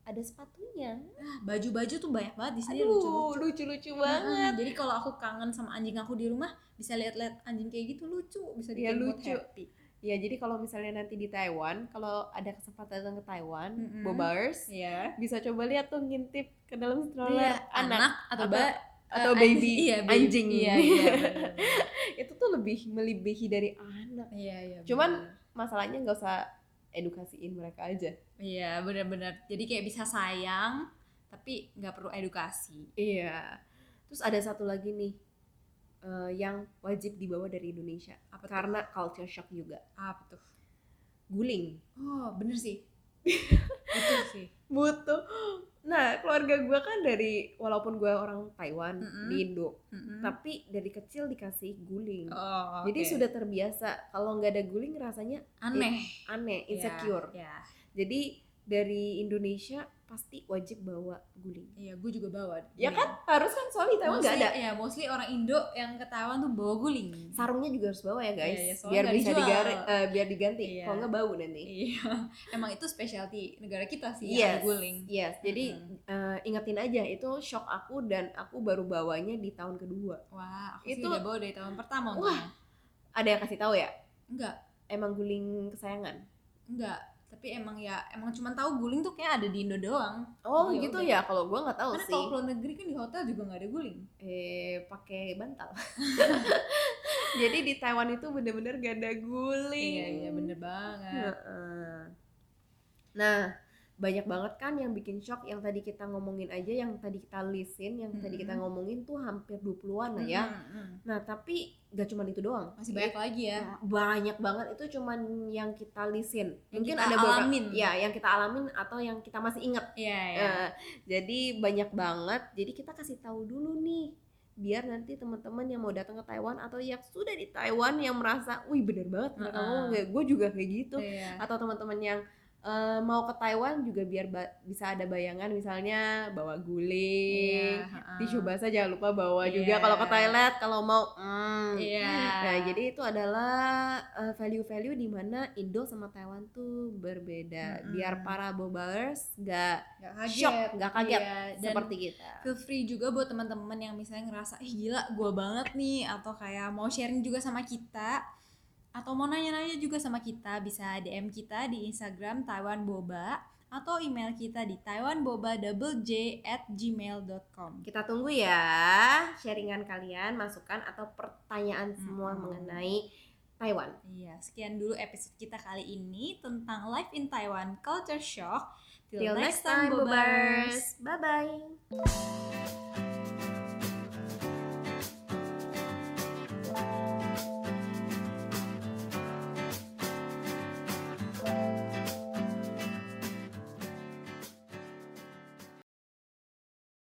B: Ada sepatunya.
A: Ah, baju-baju tuh banyak banget di sini
B: Aduh,
A: lucu
B: lucu-lucu
A: banget
B: banget.
A: jadi kalau aku kangen sama anjing aku di rumah bisa lihat-lihat anjing kayak gitu lucu bisa
B: Iya,
A: dibuat
B: lucu.
A: happy
B: Ya, jadi kalau misalnya nanti di Taiwan, kalau ada kesempatan datang ke Taiwan,
A: Mm-mm.
B: Bobers,
A: Iya.
B: bisa coba lihat tuh ngintip ke dalam stroller
A: Iya, anak, atau,
B: atau-
A: ba-
B: atau
A: eh,
B: baby,
A: anjing, iya, baby.
B: anjing.
A: iya iya bener.
B: Itu tuh lebih melebihi dari anak.
A: iya iya
B: Cuman,
A: bener.
B: Masalahnya nggak usah edukasiin mereka aja.
A: Iya benar-benar. Jadi kayak bisa sayang tapi nggak perlu edukasi.
B: Iya. Terus ada satu lagi nih eh, yang wajib dibawa dari Indonesia
A: Apa tuh?
B: karena culture shock juga.
A: Apa tuh?
B: Guling.
A: Oh bener sih. Itu sih.
B: butuh nah keluarga gue kan dari walaupun gue orang Taiwan
A: Mm-mm.
B: di Indo
A: Mm-mm.
B: tapi dari kecil dikasih guling
A: Oh,
B: jadi
A: oke.
B: sudah terbiasa kalau nggak ada guling rasanya
A: aneh,
B: aneh
A: Ya,
B: insecure
A: Ya,
B: jadi dari Indonesia pasti wajib bawa guling
A: iya gue juga bawa.
B: ya
A: guling.
B: kan harus kan soalnya di Taiwan nggak
A: Mostly-
B: ada
A: Ya mostly orang Indo yang ke Taiwan tuh bawa guling.
B: sarungnya juga harus bawa ya guys
A: Iya, iya, soalnya
B: biar
A: nggak
B: bisa
A: dijual.
B: digare eh, biar diganti
A: Iya.
B: kalau nggak bau nanti
A: Iya, emang itu specialty negara kita sih
B: Yes.
A: yang ada guling.
B: Yes, jadi
A: Mm-mm.
B: eh, ingetin aja itu shock aku dan aku baru bawanya di tahun kedua.
A: Wah, aku
B: Itu-
A: sih udah bawa dari tahun pertama.
B: Wah.
A: untungnya.
B: Ada yang kasih tahu ya?
A: enggak,
B: emang guling kesayangan.
A: enggak. Tapi emang ya, emang cuma tahu guling tuh kayak ada di Indo doang. Oh,
B: Oh,
A: ya
B: gitu
A: udah.
B: ya. Kalau gua nggak tahu
A: Karena
B: sih.
A: kalau ke luar negeri kan di hotel juga nggak ada guling.
B: Eh, pakai bantal. Jadi di Taiwan itu bener-bener gak ada guling.
A: Iya iya bener banget.
B: Heeh. Nah, banyak banget kan yang bikin shock yang tadi kita ngomongin aja yang tadi kita listin yang tadi kita
A: Mm-mm.
B: ngomongin tuh hampir 20-an lah ya.
A: Mm, mm, mm.
B: Nah, tapi gak cuma itu doang.
A: Masih banyak lagi
B: Iya.
A: ya.
B: Nah, banyak banget itu cuman yang kita listin
A: Yang
B: mungkin
A: kita
B: ada beberapa
A: alamin.
B: ya yang kita alamin atau yang kita masih ingat
A: Iya iya.
B: Eh, jadi banyak banget. Jadi kita kasih tahu dulu nih biar nanti teman-teman yang mau datang ke Taiwan atau yang sudah di Taiwan yang merasa, "Wih, bener banget mereka
A: Heeh.
B: ngomong kayak gue juga kayak gitu."
A: Iya.
B: Atau teman-teman yang eh, mau ke Taiwan juga biar ba- bisa ada bayangan misalnya bawa Iya, guling, tisu basah jangan lupa bawa
A: Iya.
B: juga kalau ke Thailand kalau mau mm.
A: Iya.
B: nah jadi itu adalah eh, value-value di mana Indo sama Taiwan tuh berbeda
A: Mm-mm.
B: biar para bobers nggak
A: Nggak
B: shock nggak kaget
A: Iya, dan
B: seperti kita
A: feel free juga buat teman-teman yang misalnya ngerasa ih gila gua banget nih atau kayak mau sharing juga sama kita atau mau nanya-nanya juga sama kita bisa DM kita di Instagram Taiwan Boba atau email kita di taiwanboba@gmail.com.
B: kita tunggu ya sharingan kalian masukan atau pertanyaan semua
A: Mm-mm.
B: mengenai Taiwan
A: Iya, sekian dulu episode kita kali ini tentang life in Taiwan culture shock.
B: Till next time, Bobers. Bye bye.